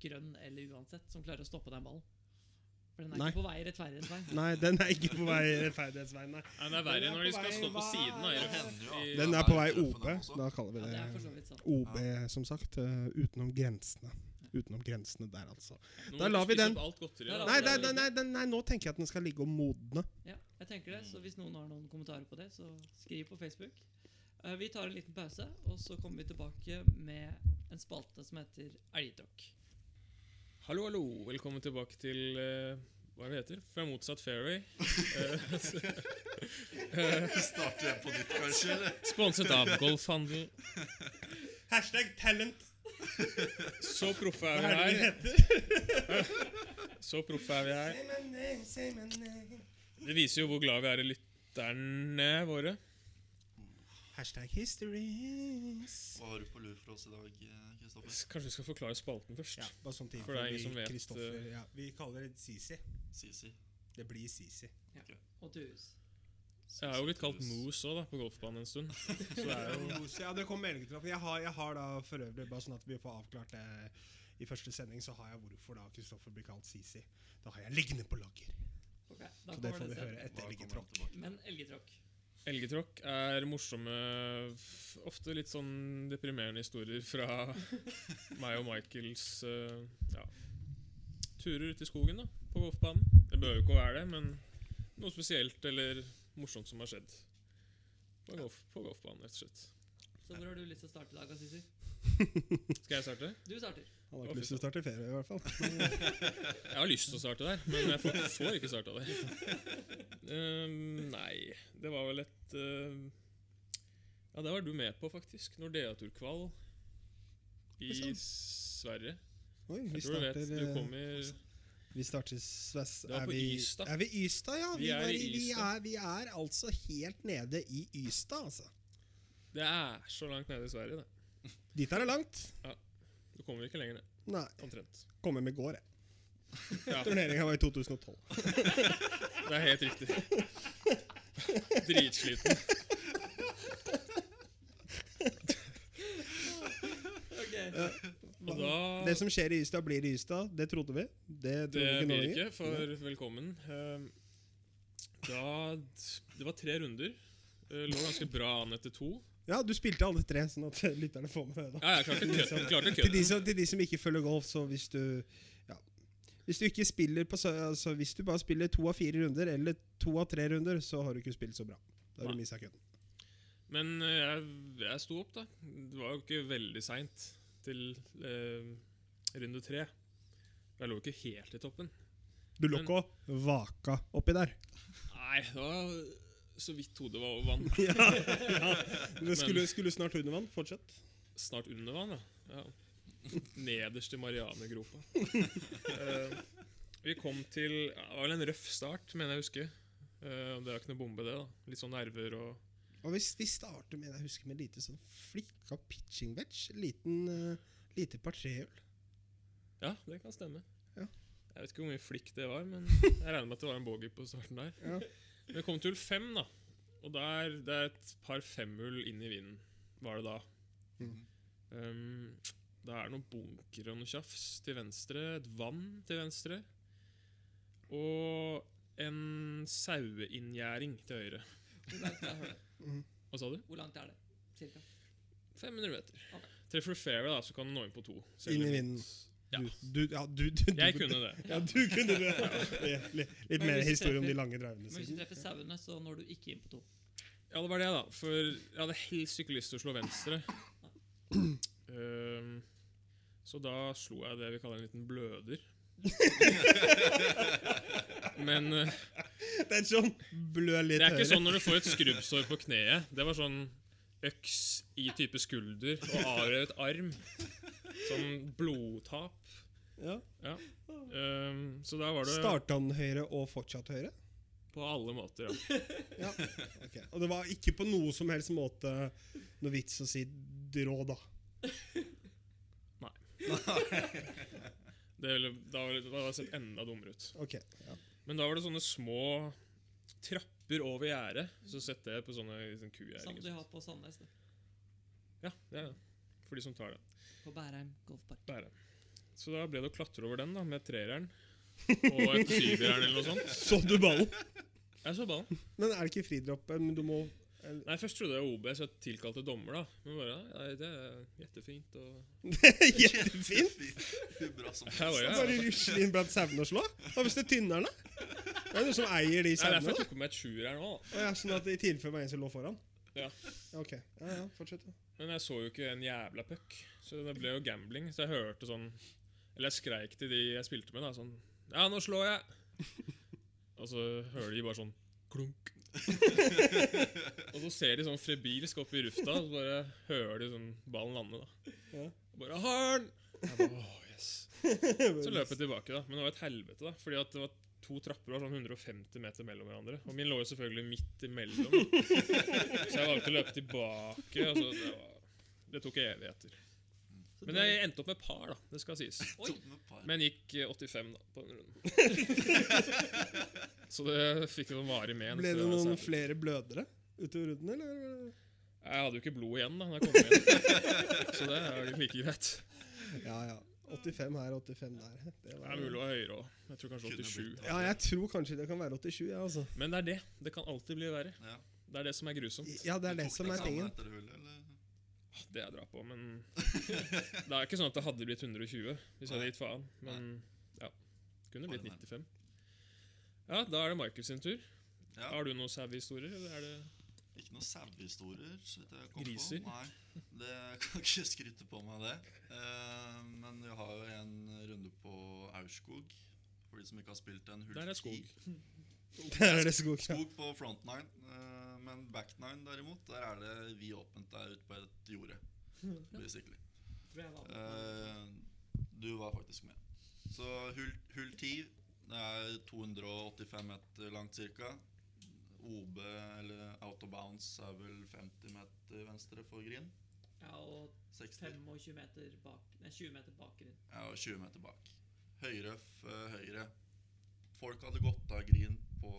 Speaker 1: grønn eller uansett, som klarer å stoppe den ballen? For den er
Speaker 2: Nei.
Speaker 1: ikke på vei rettferdighetsveien.
Speaker 2: Nei, den er ikke på vei rettferdighetsveien, nei.
Speaker 3: Nei, det er
Speaker 2: Den
Speaker 3: verre
Speaker 2: er
Speaker 3: når
Speaker 2: på
Speaker 3: de skal
Speaker 2: vei-
Speaker 3: stå på
Speaker 2: hva-
Speaker 3: siden av
Speaker 2: Ja,
Speaker 3: røffen.
Speaker 4: det hender jo,
Speaker 3: I-
Speaker 4: ja.
Speaker 2: Den
Speaker 4: Ja,
Speaker 2: er på
Speaker 4: det
Speaker 2: vei
Speaker 4: er trøffen,
Speaker 2: OB.
Speaker 4: den også.
Speaker 2: Da kaller vi
Speaker 1: Ja, det er for så
Speaker 2: det
Speaker 1: vidt sant.
Speaker 2: OB, som sagt. eh, Utenom grensene. Utenom grensene der, altså.
Speaker 3: Nå må
Speaker 2: Da
Speaker 3: du
Speaker 2: lar vi
Speaker 3: spise
Speaker 2: den.
Speaker 3: opp Alt godteri,
Speaker 1: Da
Speaker 3: da.
Speaker 1: lar
Speaker 2: Nei,
Speaker 1: vi
Speaker 2: nei,
Speaker 1: den
Speaker 2: nei, nei, den- nei, nå tenker jeg at den skal ligge og modne.
Speaker 1: Ja, jeg tenker det. Så hvis noen har noen kommentarer på det, så skriv på Facebook. Eh, Vi tar en liten pause, og så kommer vi tilbake med en spalte som heter Elgtalk.
Speaker 3: Hallo, hallo. Velkommen tilbake til eh, hva er det heter? Fra motsatt fairway.
Speaker 4: Starter jeg på nytt, kanskje? Eller?
Speaker 3: Sponset av Golfhandel.
Speaker 2: Hashtag talent.
Speaker 3: Så proffe er vi her.
Speaker 2: heter?
Speaker 3: Så proffe er vi her. Det viser jo hvor glad vi er i lytterne våre.
Speaker 2: Hashtag histories.
Speaker 4: Hva har du på lur for oss i dag, eh, Kristoffer?
Speaker 3: S- Kanskje vi skal forklare spalten først?
Speaker 2: Ja, bare sånn ting
Speaker 3: For det er
Speaker 2: fordi
Speaker 3: ingen som vet,
Speaker 2: Kristoffer-
Speaker 3: eh,
Speaker 2: ja, Vi kaller det Sisi.
Speaker 4: Sisi.
Speaker 2: Det blir Sisi.
Speaker 1: Og Tues.
Speaker 3: Jeg har jo blitt kalt Moose òg, da, på golfbanen en stund. Så det er jo
Speaker 2: Ja, det kom melding til meg. for Jeg har, jeg har da for øvrig, bare sånn at vi får avklart det i første sending, så har jeg hvorfor da Kristoffer blir kalt Sisi. Da har jeg liggende på lager.
Speaker 1: Ok, da
Speaker 2: Så det
Speaker 1: kommer det
Speaker 2: får vi høre
Speaker 1: senere.
Speaker 2: etter
Speaker 4: Da kommer
Speaker 2: liggetråkk.
Speaker 4: jeg tilbake.
Speaker 1: Men elgetråkk.
Speaker 3: Elgetråkk er morsomme, f- ofte litt sånn deprimerende historier fra meg og Michaels eh, ja, turer ute i skogen da, på golfbanen. Det behøver jo ikke å være det, men noe spesielt eller morsomt som har skjedd på, golf, på golfbanen, rett og slett.
Speaker 1: Så hvor har du lyst til å starte i dag, Assisi?
Speaker 3: Skal jeg starte?
Speaker 1: Du starter.
Speaker 2: Han har ikke lyst til å starte ferie, i hvert fall. eh,
Speaker 3: Jeg har lyst til å starte der, men jeg får, får ikke starta der. Ehm, nei, det var vel et eh, Ja, det var du med på, faktisk. Nordea-turkvall i
Speaker 2: Ikke sant?
Speaker 3: Sverige.
Speaker 2: Oi, vi
Speaker 3: Jeg tror du vet.
Speaker 2: starter,
Speaker 3: Du
Speaker 2: eh,
Speaker 3: kommer
Speaker 2: vi starter Sves...
Speaker 3: Det var
Speaker 2: er
Speaker 3: på
Speaker 2: vi,
Speaker 3: Ystad.
Speaker 2: Er vi Ystad, ja?
Speaker 3: Vi
Speaker 2: Vi,
Speaker 3: er
Speaker 2: var,
Speaker 3: i
Speaker 2: i- vi,
Speaker 3: Ystad.
Speaker 2: er, vi er altså helt nede i Ystad, altså.
Speaker 3: Det er så langt nede i Sverige, det.
Speaker 2: Dit er det langt.
Speaker 3: Du kommer ikke lenger ned.
Speaker 2: Nei.
Speaker 3: Omtrent.
Speaker 2: Kommer med gård, jeg.
Speaker 3: Ja, det
Speaker 2: Turneringa var i 2012.
Speaker 3: er helt riktig. Dritsliten.
Speaker 1: Ok.
Speaker 3: Og da
Speaker 2: Det som skjer i Ystad, blir i Ystad. Det trodde vi. Det
Speaker 3: Det
Speaker 2: trodde vi ikke nå
Speaker 3: blir
Speaker 2: lenger.
Speaker 3: ikke, for velkommen. Ehm, Da Det var tre runder. Eh, Lå ganske bra an etter to.
Speaker 2: Ja, du spilte alle tre, sånn at lytterne får med det. da.
Speaker 3: Ja, jeg klarte kødden.
Speaker 2: Til
Speaker 3: Klarte
Speaker 2: de
Speaker 3: kødden.
Speaker 2: som, til de som ikke følger golf, så hvis du ja, Hvis du ikke spiller på så- altså, Hvis du bare spiller to av fire runder, eller to av tre runder, så har du ikke spilt så bra. Da har du
Speaker 3: Nei.
Speaker 2: mista kødden.
Speaker 3: Men eh, jeg, jeg sto opp, da. Det var jo ikke veldig seint til eh, runde tre. Jeg lå ikke helt i toppen.
Speaker 2: Du lå
Speaker 3: Men-
Speaker 2: ikke og vaka oppi der.
Speaker 3: Nei, det var så vidt hodet var over vann.
Speaker 2: Det skulle, skulle snart under vann. Fortsett.
Speaker 3: Snart under vann, da. ja. Nederst i Marianegropa. Eh, vi kom til ja, Det var vel en røff start, mener jeg å huske. Eh, det er ikke noe bombe, det. da Litt sånn nerver og
Speaker 2: Og hvis vi starter med jeg husker med lite sånn flikka pitching wedge, liten eh, lite par trehjul
Speaker 3: Ja, det kan stemme.
Speaker 2: Ja.
Speaker 3: Jeg vet ikke hvor mye flikk det var, men jeg regner med at det var en bogey på starten der.
Speaker 2: Ja.
Speaker 3: Men vi kom til hull fem, da. Og der, det er et par femhull inn i vinden, var det da.
Speaker 4: Mm.
Speaker 2: Mhm.
Speaker 3: Um, det er noen bunker og noe tjafs til venstre, et vann til venstre. Og en saueinngjerding til høyre.
Speaker 1: Hvor langt er det?
Speaker 3: Hva sa du?
Speaker 1: Hvor langt er det? Cirka.
Speaker 3: 500 meter.
Speaker 1: Ok.
Speaker 3: Treffer du fairway, da, så kan du nå inn på to. selv
Speaker 2: inn i
Speaker 3: om-
Speaker 2: vinden.
Speaker 3: Ja.
Speaker 2: Du, du, ja, du, du, du
Speaker 3: Jeg kunne det.
Speaker 2: Ja, du kunne det. Litt, litt
Speaker 1: Men
Speaker 2: mer
Speaker 1: hvis du
Speaker 2: historie om de
Speaker 1: treffer-
Speaker 2: lange drivene.
Speaker 1: Men hvis du
Speaker 2: siden.
Speaker 1: treffer sauene, så når du ikke inn på to.
Speaker 3: Ja, det var det, da. For jeg hadde helst ikke lyst til å slå venstre. Ehm, så da slo jeg det vi kaller en liten bløder. Men eh,
Speaker 2: Det er sånn blø litt
Speaker 3: det er ikke
Speaker 2: høyere.
Speaker 3: sånn når du får et skrubbsår på kneet. Det var sånn øks i type skulder og avrevet arm. Sånn blodtap. sånn-
Speaker 2: Ja.
Speaker 3: Ja. Ehm, så der var det
Speaker 2: Starta han høyre og fortsatt høyre?
Speaker 3: på alle måter, ja.
Speaker 2: Ja. Ok. Og det var ikke på noe som helst måte noe vits å si drå, da.
Speaker 3: Det ville, da ville det hadde sett enda dummere ut.
Speaker 2: Ok. Ja.
Speaker 3: Men da var det sånne små trapper over gjerdet. Så setter jeg på sånne
Speaker 1: Som
Speaker 3: liksom,
Speaker 1: de
Speaker 3: kugjerder.
Speaker 1: har på Sandnes. det.
Speaker 3: Ja, det er det. For de som tar det.
Speaker 1: På Bærheim golfpark.
Speaker 3: Bære. Så da ble det å klatre over den da, med trereren. og et skijern eller noe sånt.
Speaker 2: Så du ballen?
Speaker 3: Jeg så ballen.
Speaker 2: Men er det ikke fridropp? eh, men Du må
Speaker 3: Nei, Først trodde jeg OB, så jeg tilkalte dommer, da. Men bare, nei, det er jettefint. Og
Speaker 2: Kjempefint!
Speaker 4: Bra som
Speaker 3: Her var jeg.
Speaker 4: helst.
Speaker 2: Bare rusle inn blant sauene og slå? Hva hvis det er tynnerne? Det er noen som eier de
Speaker 3: Nei, derfor
Speaker 2: sauene.
Speaker 3: jeg
Speaker 2: da.
Speaker 3: tok på meg et sjuer her nå. da.
Speaker 2: Å, ja, sånn at det i tilfelle var en som lå foran?
Speaker 3: Ja.
Speaker 2: Ok. Ja, ja, fortsett. da.
Speaker 3: Men jeg så jo ikke en jævla puck, så det ble jo gambling. Så jeg hørte sånn Eller jeg skreik til de jeg spilte med, da, sånn Ja, nå slår jeg! Og så hører de bare sånn klunk. og så ser de sånn frebilsk opp i lufta, og så bare hører de sånn ballen lande, da.
Speaker 2: Ja.
Speaker 3: Og bare har den! Jeg bare, «Åh, yes. Så løp jeg tilbake, da. Men det var et helvete, da. Fordi at det var to trapper var sånn 150 meter mellom hverandre. Og min lå jo selvfølgelig midt imellom. da. Så jeg valgte å løpe tilbake. Og så det, var, det tok evigheter.
Speaker 1: Så
Speaker 3: Men
Speaker 1: du-
Speaker 3: jeg endte opp med par, da. Det skal sies.
Speaker 1: Oi!
Speaker 4: Tok med et par.
Speaker 3: Men gikk eh, 85 da, på den runden. Så det fikk jo noen varig men.
Speaker 2: Ble
Speaker 3: så
Speaker 2: det
Speaker 3: var
Speaker 2: noen
Speaker 3: særlig.
Speaker 2: flere blødere utover runden, eller?
Speaker 3: Jeg hadde jo ikke blod igjen da da jeg kom hjem. Så det er jo like greit.
Speaker 2: Ja, ja. 85 her, 85 der. Det
Speaker 3: Det er mulig å være høyere òg. Jeg tror kanskje
Speaker 4: Kunne blitt
Speaker 3: 87.
Speaker 2: Ja, jeg tror kanskje det kan være 87, ja, altså.
Speaker 3: Men det er det. Det kan alltid bli verre.
Speaker 4: Ja.
Speaker 3: Det er det som er grusomt.
Speaker 2: Ja, det er
Speaker 4: Du
Speaker 2: det
Speaker 4: tok
Speaker 2: som
Speaker 4: deg
Speaker 2: er
Speaker 4: sammen
Speaker 2: tingen.
Speaker 4: etter hullet, eller?
Speaker 3: Det jeg drar på, men Det er ikke sånn at det hadde blitt 120 hvis jeg hadde
Speaker 4: Nei.
Speaker 3: gitt faen. Men ja. Kunne blitt
Speaker 4: Bare
Speaker 3: 95.
Speaker 4: men.
Speaker 3: Ja, da er det Michael sin tur.
Speaker 4: Ja.
Speaker 3: Har du noen savvy historier, eller er det
Speaker 4: Ikke noen sauehistorier. så vidt jeg kom
Speaker 3: Griser?
Speaker 4: På. Nei, det jeg kan ikke skryte på meg det. Eh, men vi har jo en runde på Aurskog. For de som ikke har spilt en hulk
Speaker 3: Der er skog.
Speaker 2: Der er det skog. Ja.
Speaker 4: Skog på front nine. eh, men back nine derimot, der er det vi åpent der ute på et jorde. basically.
Speaker 1: Tror jeg var med.
Speaker 4: Eh, du var faktisk med. Så hull, hull 10, det er 285 meter langt ca. OB, eller out of bounds, er vel 50 meter venstre for green.
Speaker 1: Ja, og
Speaker 4: 60.
Speaker 1: 25 meter bak Nei, 20 meter bak i den.
Speaker 4: Ja, og 20 meter bak. Høyre, f eh, høyre. Folk hadde gått av green på,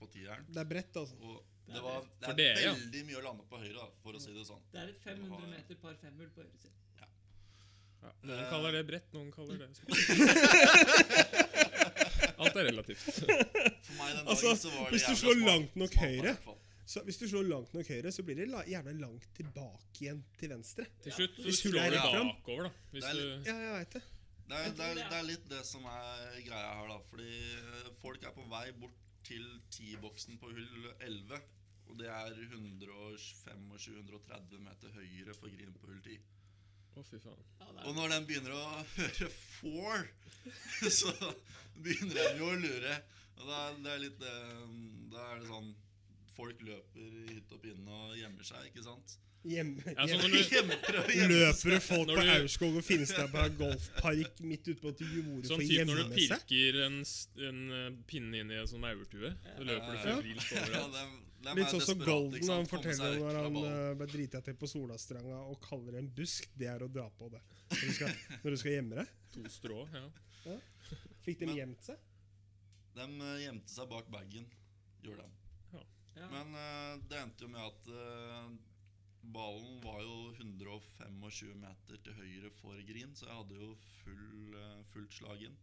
Speaker 4: på tieren.
Speaker 2: Det er bredt, altså.
Speaker 4: Og
Speaker 1: Det
Speaker 4: det,
Speaker 1: er
Speaker 4: var, det
Speaker 3: For
Speaker 4: er
Speaker 3: dere, ja.
Speaker 4: veldig mye å lande på høyre, da, for å si det sånn.
Speaker 1: Det er et
Speaker 4: Nå har
Speaker 1: 500
Speaker 4: jeg-
Speaker 1: meter par femhull på høyre side.
Speaker 3: Ja,
Speaker 4: Eh.
Speaker 3: noen kaller det bredt, noen kaller det smalt. Alt er relativt.
Speaker 4: For meg den dagen
Speaker 2: Altså,
Speaker 4: så var det
Speaker 2: hvis du
Speaker 4: jævla
Speaker 2: slår
Speaker 4: smalt-
Speaker 2: langt nok
Speaker 4: smalt da, i
Speaker 2: høyre.
Speaker 4: hvert fall.
Speaker 2: Så hvis du slår langt nok høyre, så blir det la gjerne langt tilbake igjen til venstre.
Speaker 3: Til slutt så
Speaker 2: Hvis hullet
Speaker 3: slår
Speaker 2: er
Speaker 3: du
Speaker 2: rett fram.
Speaker 3: bakover, da. Hvis
Speaker 4: Det er
Speaker 3: du
Speaker 2: Ja, jeg veit det.
Speaker 4: Det er,
Speaker 1: Jeg tror
Speaker 4: det, er,
Speaker 1: det er-
Speaker 4: det er litt det som er greia her, da. Fordi eh, folk er på vei bort til 10-boksen på hull 11. Og det er 125-130 meter høyre for green på hull 10.
Speaker 3: Å, fy faen.
Speaker 1: Ja, det
Speaker 4: Og
Speaker 1: er,
Speaker 4: når den begynner å høre four, så begynner den jo å lure. Og da, det er litt eh, Da er det sånn Folk løper i hytt og pinne og gjemmer seg, ikke sant?
Speaker 2: Hjemme,
Speaker 3: Ja, sånn
Speaker 2: hjemme.
Speaker 3: når du,
Speaker 4: Hjemmeprøve
Speaker 2: Løper det folk på
Speaker 3: Når du-
Speaker 2: Aurskog og Finstad på en golfpark midt ute på et jorde
Speaker 3: sånn
Speaker 2: for å
Speaker 3: typ når du
Speaker 2: gjemme seg?
Speaker 3: pirker en, s- en eh, pinne inn i en sånn maurtue, så løper du
Speaker 4: Ja.
Speaker 3: febrilsk over.
Speaker 4: Ja, dem, dem
Speaker 2: Litt
Speaker 4: er
Speaker 2: sånn som
Speaker 4: desperate, ikke
Speaker 2: Golden
Speaker 4: sant?
Speaker 2: han
Speaker 4: Komme seg
Speaker 2: forteller
Speaker 4: vekk
Speaker 2: når
Speaker 4: fra
Speaker 2: han
Speaker 4: ballen.
Speaker 2: eh, ble drita til på Solastranda og kaller det en busk. Det er å dra på det. Når du skal, når du skal gjemme deg.
Speaker 3: To strå, ja.
Speaker 2: Fikk de
Speaker 4: Men-
Speaker 2: gjemt seg?
Speaker 4: De eh, gjemte seg bak bagen, gjorde de.
Speaker 1: ja.
Speaker 4: Men eh, det endte jo med at eh, ballen var jo 125 meter til høyre for green, så jeg hadde jo full, eh, fullt slag inn.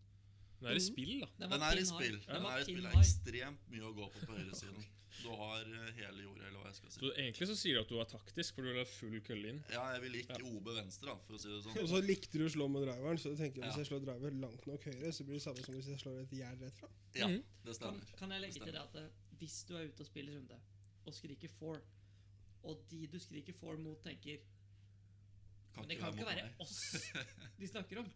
Speaker 3: Det er
Speaker 4: Mhm.
Speaker 3: i spill, da.
Speaker 1: Den var
Speaker 4: Den er i
Speaker 1: pin high.
Speaker 4: spill. Den
Speaker 1: var
Speaker 4: er i
Speaker 1: pin
Speaker 4: spill. Det er
Speaker 1: high.
Speaker 4: ekstremt mye å gå på på høyresiden. Du har eh, hele jordet, eller hva jeg skal si.
Speaker 3: Så Egentlig så sier du at du var taktisk, for du la full kølle inn.
Speaker 4: Ja, jeg ville ikke OB venstre, da, for å si det
Speaker 2: Og
Speaker 4: sånn.
Speaker 2: så likte du å slå med driveren, så du tenker
Speaker 4: Ja.
Speaker 2: hvis jeg slår driver langt nok høyre, så blir det samme som hvis jeg slår et gjerd rett fram.
Speaker 4: Ja,
Speaker 3: Mhm.
Speaker 4: det
Speaker 1: Kan,
Speaker 4: stemmer.
Speaker 1: kan jeg legge til
Speaker 4: Stemmer.
Speaker 1: det at eh, hvis du er ute og spiller runde, og skriker four, og de du skriker four mot, tenker Men det kan ikke være
Speaker 4: mot meg.
Speaker 1: oss de snakker om.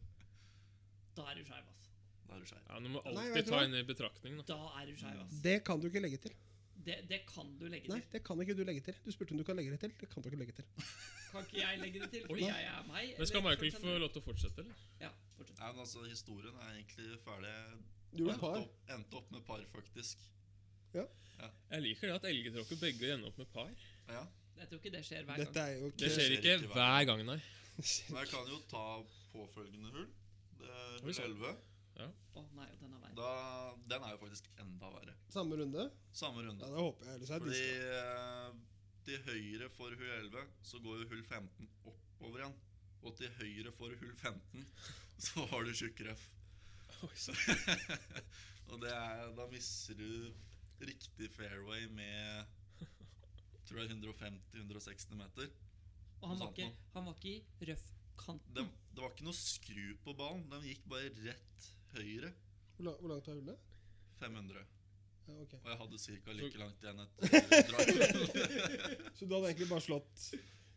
Speaker 1: Da er du skeiv, ass.
Speaker 4: Da er du skeiv.
Speaker 3: Ja, Du må
Speaker 2: Nei, vet
Speaker 3: alltid
Speaker 2: du
Speaker 3: ta
Speaker 2: hva?
Speaker 3: inn i betraktning, da.
Speaker 1: Da er du skeiv, ass.
Speaker 2: Det kan du ikke legge til.
Speaker 4: Mm.
Speaker 1: Det, det kan du legge
Speaker 2: Nei,
Speaker 1: til.
Speaker 2: det kan ikke du legge til. Du spurte om du kan legge det til. Det kan du ikke legge til.
Speaker 1: Kan ikke jeg legge det til? Fordi
Speaker 2: Oi.
Speaker 1: jeg er meg.
Speaker 3: Men skal
Speaker 1: eller
Speaker 3: Michael
Speaker 1: kan-
Speaker 3: få lov til å fortsette, eller?
Speaker 1: Ja, fortsett.
Speaker 4: Nei, men altså, historien er egentlig ferdig.
Speaker 2: Du gjorde et
Speaker 4: Endte
Speaker 2: par.
Speaker 4: opp, endte opp med par, faktisk.
Speaker 3: Jeg liker det at elgetråkker begge ender opp med par.
Speaker 4: Ja.
Speaker 1: Jeg tror ikke det skjer hver gang.
Speaker 2: Dette er jo
Speaker 3: Det skjer ikke hver gang, nei.
Speaker 4: Men jeg kan jo ta påfølgende hull. Det er
Speaker 3: Oi,
Speaker 4: hull
Speaker 3: sann.
Speaker 4: 11.
Speaker 1: Å nei, og den er verre.
Speaker 4: Da, den er jo faktisk enda verre.
Speaker 2: Samme runde?
Speaker 4: Samme
Speaker 2: Ja,
Speaker 4: runde.
Speaker 2: da håper jeg ellers er
Speaker 4: Fordi
Speaker 2: diska.
Speaker 4: eh, til høyre for hull 11 så går jo hull 15 oppover igjen. Og til høyre for hull 15 så har du tjukk røff.
Speaker 3: Oi, så.
Speaker 4: Og det er, da mister du riktig fairway med tror jeg 150-160 meter.
Speaker 1: Og han
Speaker 4: Noe
Speaker 1: var
Speaker 4: sånt
Speaker 1: ikke,
Speaker 4: nå.
Speaker 1: han var ikke i røffkanten.
Speaker 4: Det, det var ikke noe skru på ballen. Den gikk bare rett høyre.
Speaker 2: Hvor, la- hvor langt er hullet?
Speaker 4: 500.
Speaker 2: Ja, ok.
Speaker 4: Og jeg hadde ca. like langt igjen etter drive.
Speaker 2: Så du hadde egentlig bare slått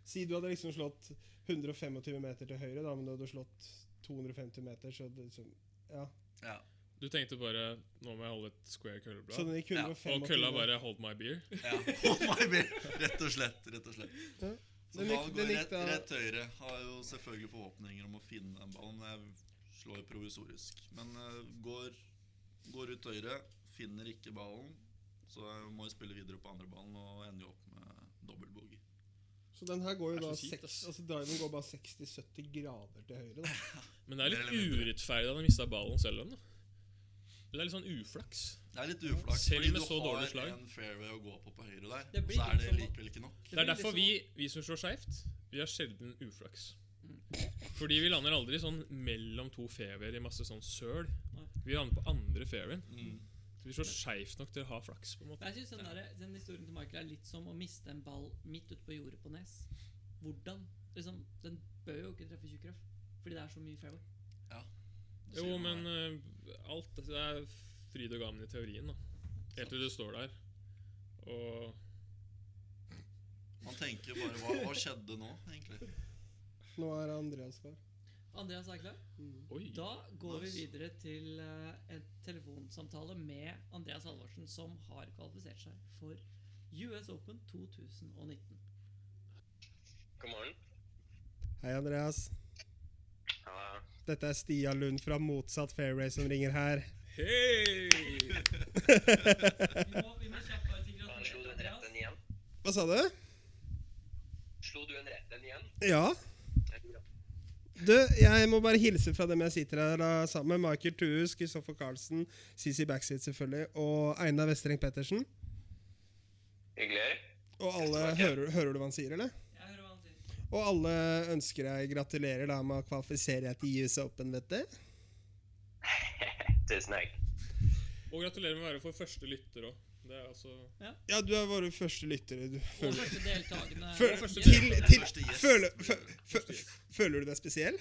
Speaker 2: Si du hadde liksom slått 125 meter til høyre, da, men du hadde slått 250 meter, så det liksom ja.
Speaker 4: Ja.
Speaker 3: Du tenkte bare Nå må jeg holde et square
Speaker 2: Så
Speaker 3: kølleblad.
Speaker 2: den gikk
Speaker 4: Ja,
Speaker 2: 125
Speaker 3: Og kølla bare Hold my beer.
Speaker 4: ja. Oh my beer. Rett og slett. Rett og slett.
Speaker 2: Ja.
Speaker 4: Så
Speaker 2: Den
Speaker 4: ballen
Speaker 2: gikk-
Speaker 4: går
Speaker 2: den gikk
Speaker 4: rett,
Speaker 2: da-
Speaker 4: rett høyre. Har jo selvfølgelig forhåpninger om å finne den ballen. Jeg slår provisorisk. Men eh, går, går ut høyre, finner ikke ballen. Så jeg må jo spille videre på andre ballen og ender jo opp med dobbel boogie.
Speaker 2: Så den her går jo
Speaker 3: Det er
Speaker 2: da
Speaker 3: så kjipt,
Speaker 2: seks,
Speaker 3: ass.
Speaker 2: altså driven går bare 60-70 grader til høyre, da.
Speaker 3: Men det er
Speaker 4: Mer eller
Speaker 3: litt
Speaker 4: mindre.
Speaker 3: urettferdig at han mista ballen selv om, da. Det er litt sånn uflaks.
Speaker 4: Det er litt uflaks,
Speaker 3: Selv
Speaker 4: fordi
Speaker 3: med
Speaker 4: du
Speaker 3: så
Speaker 4: har
Speaker 3: dårlig slag.
Speaker 4: en fairway å gå på på høyre der.
Speaker 1: Det
Speaker 4: Og
Speaker 1: blir
Speaker 4: så
Speaker 1: litt
Speaker 4: er det
Speaker 1: som-
Speaker 4: likevel ikke nok.
Speaker 3: Det er
Speaker 1: blir
Speaker 3: derfor vi,
Speaker 1: liksom-
Speaker 3: vi som slår skeivt, vi har sjelden uflaks. Fordi vi lander aldri sånn mellom to fairwayer i masse sånn søl.
Speaker 1: Nei.
Speaker 3: Vi lander på andre fairwayen.
Speaker 4: Mm.
Speaker 3: Så Vi slår skeivt nok til å ha flaks, på en måte.
Speaker 1: Men Jeg synes den, der, den historien til Michael er litt som å miste en ball midt ute på jordet på Nes. Hvordan? Liksom, den bør jo ikke treffe tjukk røff, fordi det er så mye fairway.
Speaker 4: Sier
Speaker 3: Jo,
Speaker 4: man
Speaker 3: men
Speaker 4: det.
Speaker 3: eh, alt det er fryd og gammen i teorien, da. Helt til du står der og
Speaker 4: Man tenker jo bare hva, hva skjedde nå, egentlig?
Speaker 2: Nå er Andreas klar.
Speaker 1: Andreas er klar.
Speaker 3: Oi!
Speaker 1: Da går vi
Speaker 4: Nice.
Speaker 1: videre til eh, en telefonsamtale med Andreas Halvorsen, som har kvalifisert seg for US Open 2019.
Speaker 5: God morgen.
Speaker 2: Hei, Andreas.
Speaker 5: Ja,
Speaker 2: Dette er Stia Lund fra Motsatt Fairway som ringer her.
Speaker 3: Hei!
Speaker 1: Vi må, vi må kjapt bare si
Speaker 5: han slo du
Speaker 1: gratulerer,
Speaker 5: en rett en
Speaker 1: Andreas.
Speaker 5: igjen?
Speaker 2: Hva sa du?
Speaker 5: Slo du en rett en igjen?
Speaker 2: Ja. Du, jeg må bare hilse fra dem jeg sitter her da, sammen med. Michael Thues, Kristoffer Carlsen, CC Backseat selvfølgelig, og Einar Vestreng Pettersen.
Speaker 5: Hyggelig.
Speaker 2: Og alle, hører, hører du hva han sier, eller?
Speaker 1: Jeg hører hva han sier.
Speaker 2: Og alle ønsker deg gratulerer da med å kvalifisere deg til US Open, vet du.
Speaker 5: Tusen takk.
Speaker 3: Og gratulerer med å være vår første lytter òg. Det er altså
Speaker 2: Ja, du er våre første lyttere. Du.
Speaker 1: Og
Speaker 2: Føler,
Speaker 1: første deltakende
Speaker 2: føler,
Speaker 1: Yes.
Speaker 2: til, til,
Speaker 4: Første gjest.
Speaker 2: føler, fø- fø- føler du deg spesiell?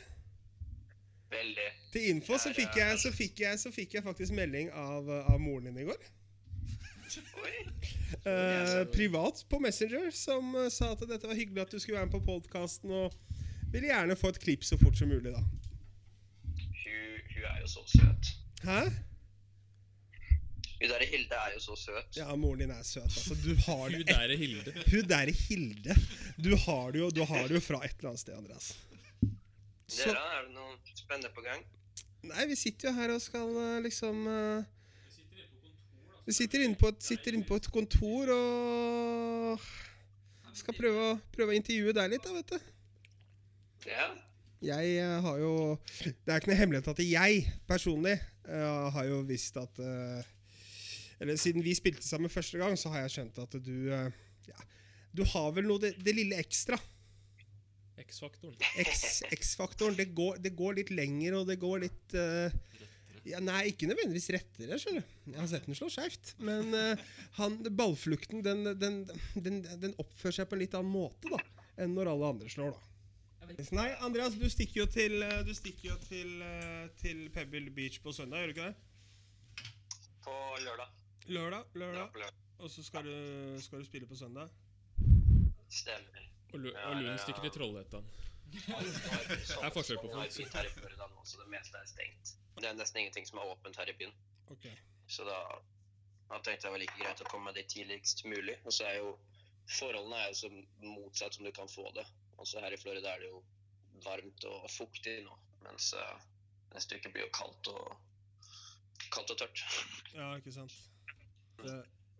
Speaker 5: Veldig.
Speaker 2: Til info så fikk jeg, så fikk jeg, så fikk jeg faktisk melding av, av moren din i går.
Speaker 5: Oi.
Speaker 2: Eh, privat på Messenger, som eh, sa at dette var hyggelig at du skulle være med på podkasten, og ville gjerne få et klipp så fort som mulig, da.
Speaker 5: Hun, hun er jo så søt.
Speaker 2: Hæ?
Speaker 5: Hun derre Hilde er jo så søt.
Speaker 2: Ja, moren din er søt, altså. Du har
Speaker 3: Hun
Speaker 2: det
Speaker 3: der er Hilde.
Speaker 2: Hun derre Hilde. Du har det jo, du har det jo fra et eller annet sted, Andreas. Så,
Speaker 5: Dere, er det noe spennende på gang?
Speaker 2: nei, vi sitter jo her og skal eh, liksom eh, Vi sitter inne på et, sitter inne på et kontor og skal prøve å, prøve å intervjue deg litt, da, vet du.
Speaker 5: Ja.
Speaker 2: Jeg eh, har jo Det er ikke noe hemmelighet at jeg personlig eh, har jo visst at eh, Eller siden vi spilte sammen første gang, så har jeg skjønt at du eh, ja, Du har vel noe det, det lille ekstra.
Speaker 3: X-faktoren.
Speaker 2: X- X-faktoren. Det, går- det går litt lenger, og det går litt eh, ja, Nei, ikke nødvendigvis rettere, skjønner du. Jeg har sett den slå skjevt. Men eh, han, ballflukten, den, den, den, den oppfører seg på en litt annen måte da, enn når alle andre slår, da.
Speaker 1: Jeg vet ikke.
Speaker 2: Nei, Andreas, du stikker jo til, eh, du stikker jo til, eh, til Pebble Beach på søndag, gjør du ikke det?
Speaker 5: På lørdag.
Speaker 2: Lørdag,
Speaker 5: Ja,
Speaker 2: lørdag.
Speaker 5: på lørdag.
Speaker 2: Og så skal du, skal du spille på søndag.
Speaker 5: Stemmer.
Speaker 3: Og, Lu- og Lund stikker til Trollhättan.
Speaker 5: Det
Speaker 3: er forskjell på folk.
Speaker 5: Her i Florida sånn- nå, så det meste er stengt. Det er nesten ingenting som er åpent her i byen.
Speaker 2: Ok.
Speaker 5: Så da, da tenkte jeg det var like greit å komme meg dit tidligst mulig. Og så er jo forholdene er jo så motsatt som du kan få det. Altså her i Florida er det jo varmt og fuktig nå, mens eh, neste uke blir jo kaldt og kaldt og tørt.
Speaker 2: Ja, ikke sant. Det.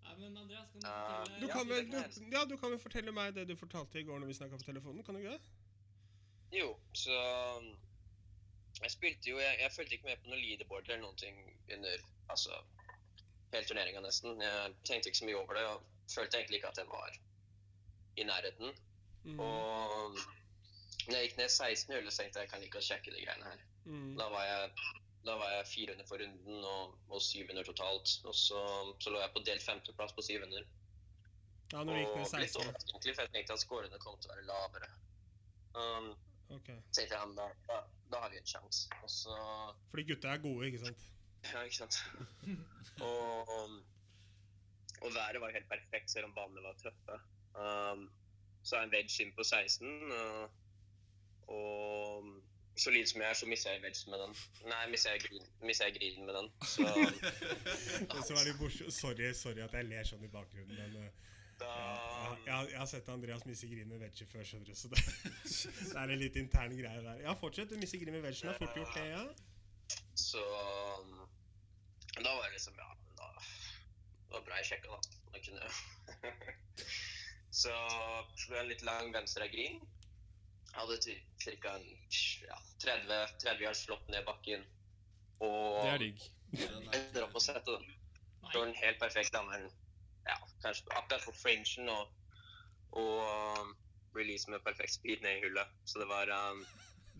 Speaker 1: Nei, men Andreas, kan du
Speaker 5: Eh,
Speaker 1: fortelle
Speaker 2: Du
Speaker 5: Ja,
Speaker 2: kan
Speaker 5: det
Speaker 2: vel
Speaker 5: kan
Speaker 2: du,
Speaker 5: jeg
Speaker 2: ja, du kan vel fortelle meg det du fortalte i går når vi snakka på telefonen? Kan du ikke det?
Speaker 5: Jo, så jeg spilte jo Jeg, jeg fulgte ikke med på noe leaderboard eller noen ting under altså, hele turneringa, nesten. Jeg tenkte ikke så mye over det og følte egentlig ikke at jeg var i nærheten.
Speaker 2: Mm.
Speaker 5: Og når jeg gikk ned 16 hull, så tenkte jeg jeg kan ikke sjekke de greiene her.
Speaker 2: Mm.
Speaker 5: Da var jeg Da var jeg 400 for runden og, og 700 totalt. Og så, så lå jeg på delt femteplass på 700.
Speaker 2: Ja, nå gikk
Speaker 5: Og
Speaker 2: det
Speaker 5: ble litt
Speaker 2: 16.
Speaker 5: overrasket, egentlig, for jeg tenkte at scorene kom til å være lavere. Um,
Speaker 2: Ok.
Speaker 5: så tenkte jeg, "Ja, men da, da, da har vi en sjanse. Og så
Speaker 2: Fordi gutta er gode, ikke sant?
Speaker 5: Ja, ikke sant. og, og været var helt perfekt, selv om banene var tøffe. Um, så er en wedge inn på 16, og, og så lite som jeg er, så mister jeg wedgen med den. Nei, mister jeg, green, mister jeg greenen med den. Så
Speaker 2: Og så er det morsomt. Sorry, sorry at jeg ler sånn i bakgrunnen, men eh,
Speaker 5: da
Speaker 2: jeg, jeg, har- jeg har sett Andreas misse grin med veggie før, skjønner du, så det, det er en litt intern greie der. Ja, fortsett. Du misser grin med veggien. Har fort gjort det, ja.
Speaker 5: Så um, da var det liksom Ja, men da Det var bra jeg sjekka, da. Da kunne jeg Så slo jeg en litt lang venstre av green. Hadde ca. Ja, 30, 30 yards slått ned bakken. Og
Speaker 3: Det er digg.
Speaker 4: Den er-
Speaker 5: endte opp å sette den. Det var en helt perfekt anvendelse. Ja, kanskje akkurat på fringen og, og um, release med perfekt speed ned i hullet. Så det var um,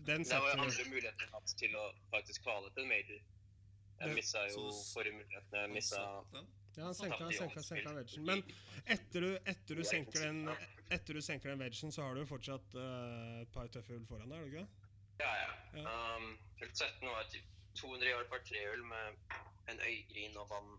Speaker 2: Den
Speaker 5: det var jo
Speaker 2: setter
Speaker 5: andre muligheter jeg hatt til å faktisk kvale til en major.
Speaker 2: Det-
Speaker 5: Jeg missa jo
Speaker 4: så s-
Speaker 5: forrige mulighet. Jeg missa
Speaker 4: Den?
Speaker 2: Ja, han senka, senka, senka veggen. Men etter du, etter du senker den Etter du senker den veggen, så har du jo fortsatt eh, et par tøffe hull foran deg, har du ikke det?
Speaker 5: Ja,
Speaker 2: Ja.
Speaker 5: ja. Um, hull 17 var typ 200 yard par trehull med en øygrin og vann.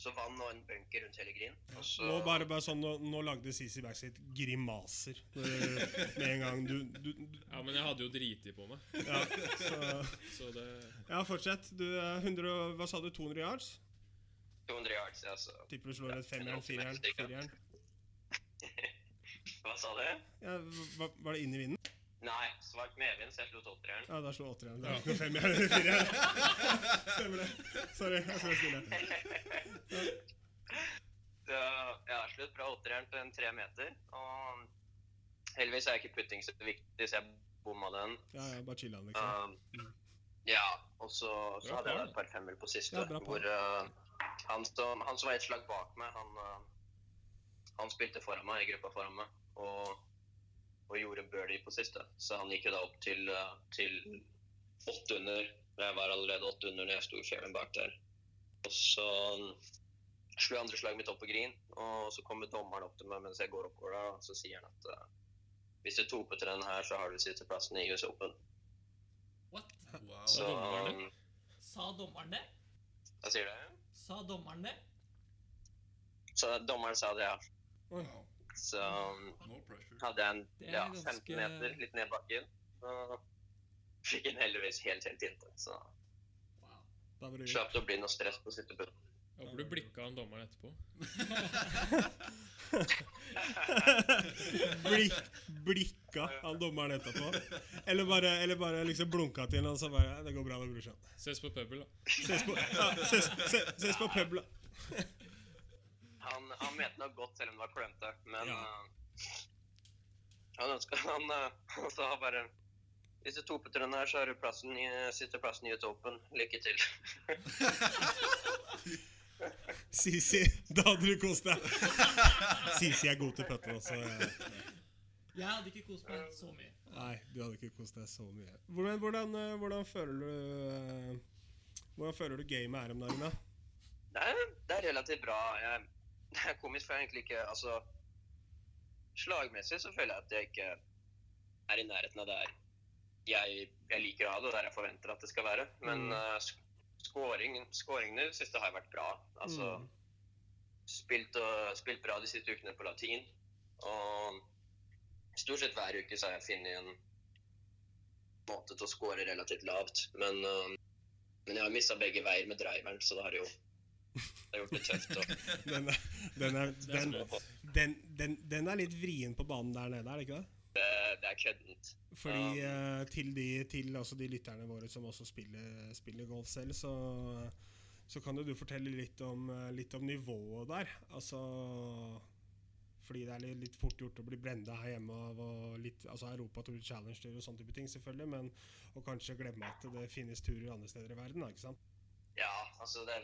Speaker 5: Så vann og en bunker rundt hele grinen. Og så
Speaker 2: Nå bare, bare sånn, nå, nå lagde CC Backseat grimaser eh, med en gang. Du, du, du
Speaker 3: Ja, men jeg hadde jo driti på meg,
Speaker 2: Ja, så
Speaker 3: så det
Speaker 2: Ja, fortsett. Du, eh, 100, og- hva sa du, 200 yards?
Speaker 5: 200 yards, ja, så
Speaker 2: Tipper du slår et femmeren, fireren, fireren.
Speaker 5: Hva sa du?
Speaker 2: Ja, hva, var det inn i vinden?
Speaker 5: Nei, svart medvind, så jeg slo tolvtreeren.
Speaker 2: Ja, da slår åtteren. Det er ikke noe femmer eller fireren. Stemmer det. Sorry, jeg skal være stille.
Speaker 5: Så ja, slutt fra åtteren til en tre meter. Og heldigvis er ikke putting så viktig, så jeg bomma den.
Speaker 2: Ja, ja, bare chiller'n, liksom.
Speaker 5: Um, ja, og så, så
Speaker 3: Bra
Speaker 5: hadde
Speaker 3: par,
Speaker 5: jeg et par femmer på siste.
Speaker 2: Ja, bra par.
Speaker 5: hvor eh, han, som, han som var et slag bak meg, han, eh, han spilte foran meg i gruppa foran meg. Og, og gjorde birdie på siste. Så han gikk jo da opp til, eh, til 800. men Jeg var allerede 800 når jeg sto i fjæren bak der. Og så eh, slo jeg andre slaget mitt opp på green, og så kommer dommeren opp til meg mens jeg går opp gårda, og så sier han at eh, hvis du toper til den her, så har du sitteplassen i US Open.
Speaker 1: What?
Speaker 4: Wow.
Speaker 5: Så
Speaker 3: dommeren
Speaker 5: um,
Speaker 1: Sa dommeren det?
Speaker 5: Hva sier du?
Speaker 1: Sa dommeren det?
Speaker 5: Så dommeren sa det, ja.
Speaker 4: Wow.
Speaker 5: Så um,
Speaker 4: No pressure.
Speaker 5: hadde jeg en
Speaker 1: Det er
Speaker 5: ja,
Speaker 1: ganske-
Speaker 5: 15 meter litt ned bakken. Så fikk den heldigvis helt, helt inntil. Så
Speaker 1: Wow.
Speaker 2: Da var du
Speaker 5: slapp det å bli noe stress på sittebunnen.
Speaker 3: Jeg håper du blikka han dommeren etterpå.
Speaker 2: Blikk, blikka han dommeren etterpå. Eller bare, eller bare liksom blunka til han og så bare Det går bra med brorsan.
Speaker 3: Ses på Pebble, da.
Speaker 2: Ses på, ja, ses, ses, ses på publa.
Speaker 5: Han, han mente nok godt, selv om det var klønete, men
Speaker 2: Ja.
Speaker 5: uh, han ønska han, uh, han sa bare Hvis du toper til den her, så har du plassen i, sitteplassen i Utopen. Lykke til.
Speaker 2: Sisi, da hadde du kost deg. Sisi er god til putter også.
Speaker 1: Jeg hadde ikke kost meg så mye.
Speaker 2: Nei, du hadde ikke kost deg så mye. Hvordan, hvordan, eh, hvordan føler du eh, Hvordan føler du gamet er om dagen, da?
Speaker 5: Det er, det er relativt bra. Jeg, det er komisk, for jeg er egentlig ikke Altså Slagmessig så føler jeg at jeg ikke er i nærheten av der jeg, jeg liker å ha det, og der jeg forventer at det skal være. Men
Speaker 2: Mm.
Speaker 5: eh, sk- scoring, scoringene syns det har vært bra. Altså
Speaker 2: Mm.
Speaker 5: spilt, og, spilt bra de siste ukene på latin. Og stort sett hver uke så har jeg funnet en måte til å score relativt lavt. Men, eh, men jeg har mista begge veier med driveren, så det har jo det har gjort det tøft. Og,
Speaker 2: Den er, den, er,
Speaker 3: Det er
Speaker 2: den,
Speaker 3: sprøtt.
Speaker 2: den, den, den er litt vrien på banen der nede, er det ikke det?
Speaker 5: det, det er køddent.
Speaker 2: Fordi eh, til, de, til altså de lytterne våre som også spiller, spiller golf selv, så, så kan jo du fortelle litt om, eh, litt om nivået der. Altså Fordi det er litt, litt fort gjort å bli blenda her hjemme av og litt, altså Europa Tour Challenge Tour og sånne type ting, selvfølgelig, men og kanskje glemme at det finnes turer andre steder i verden, da, ikke sant?
Speaker 5: Ja, altså det,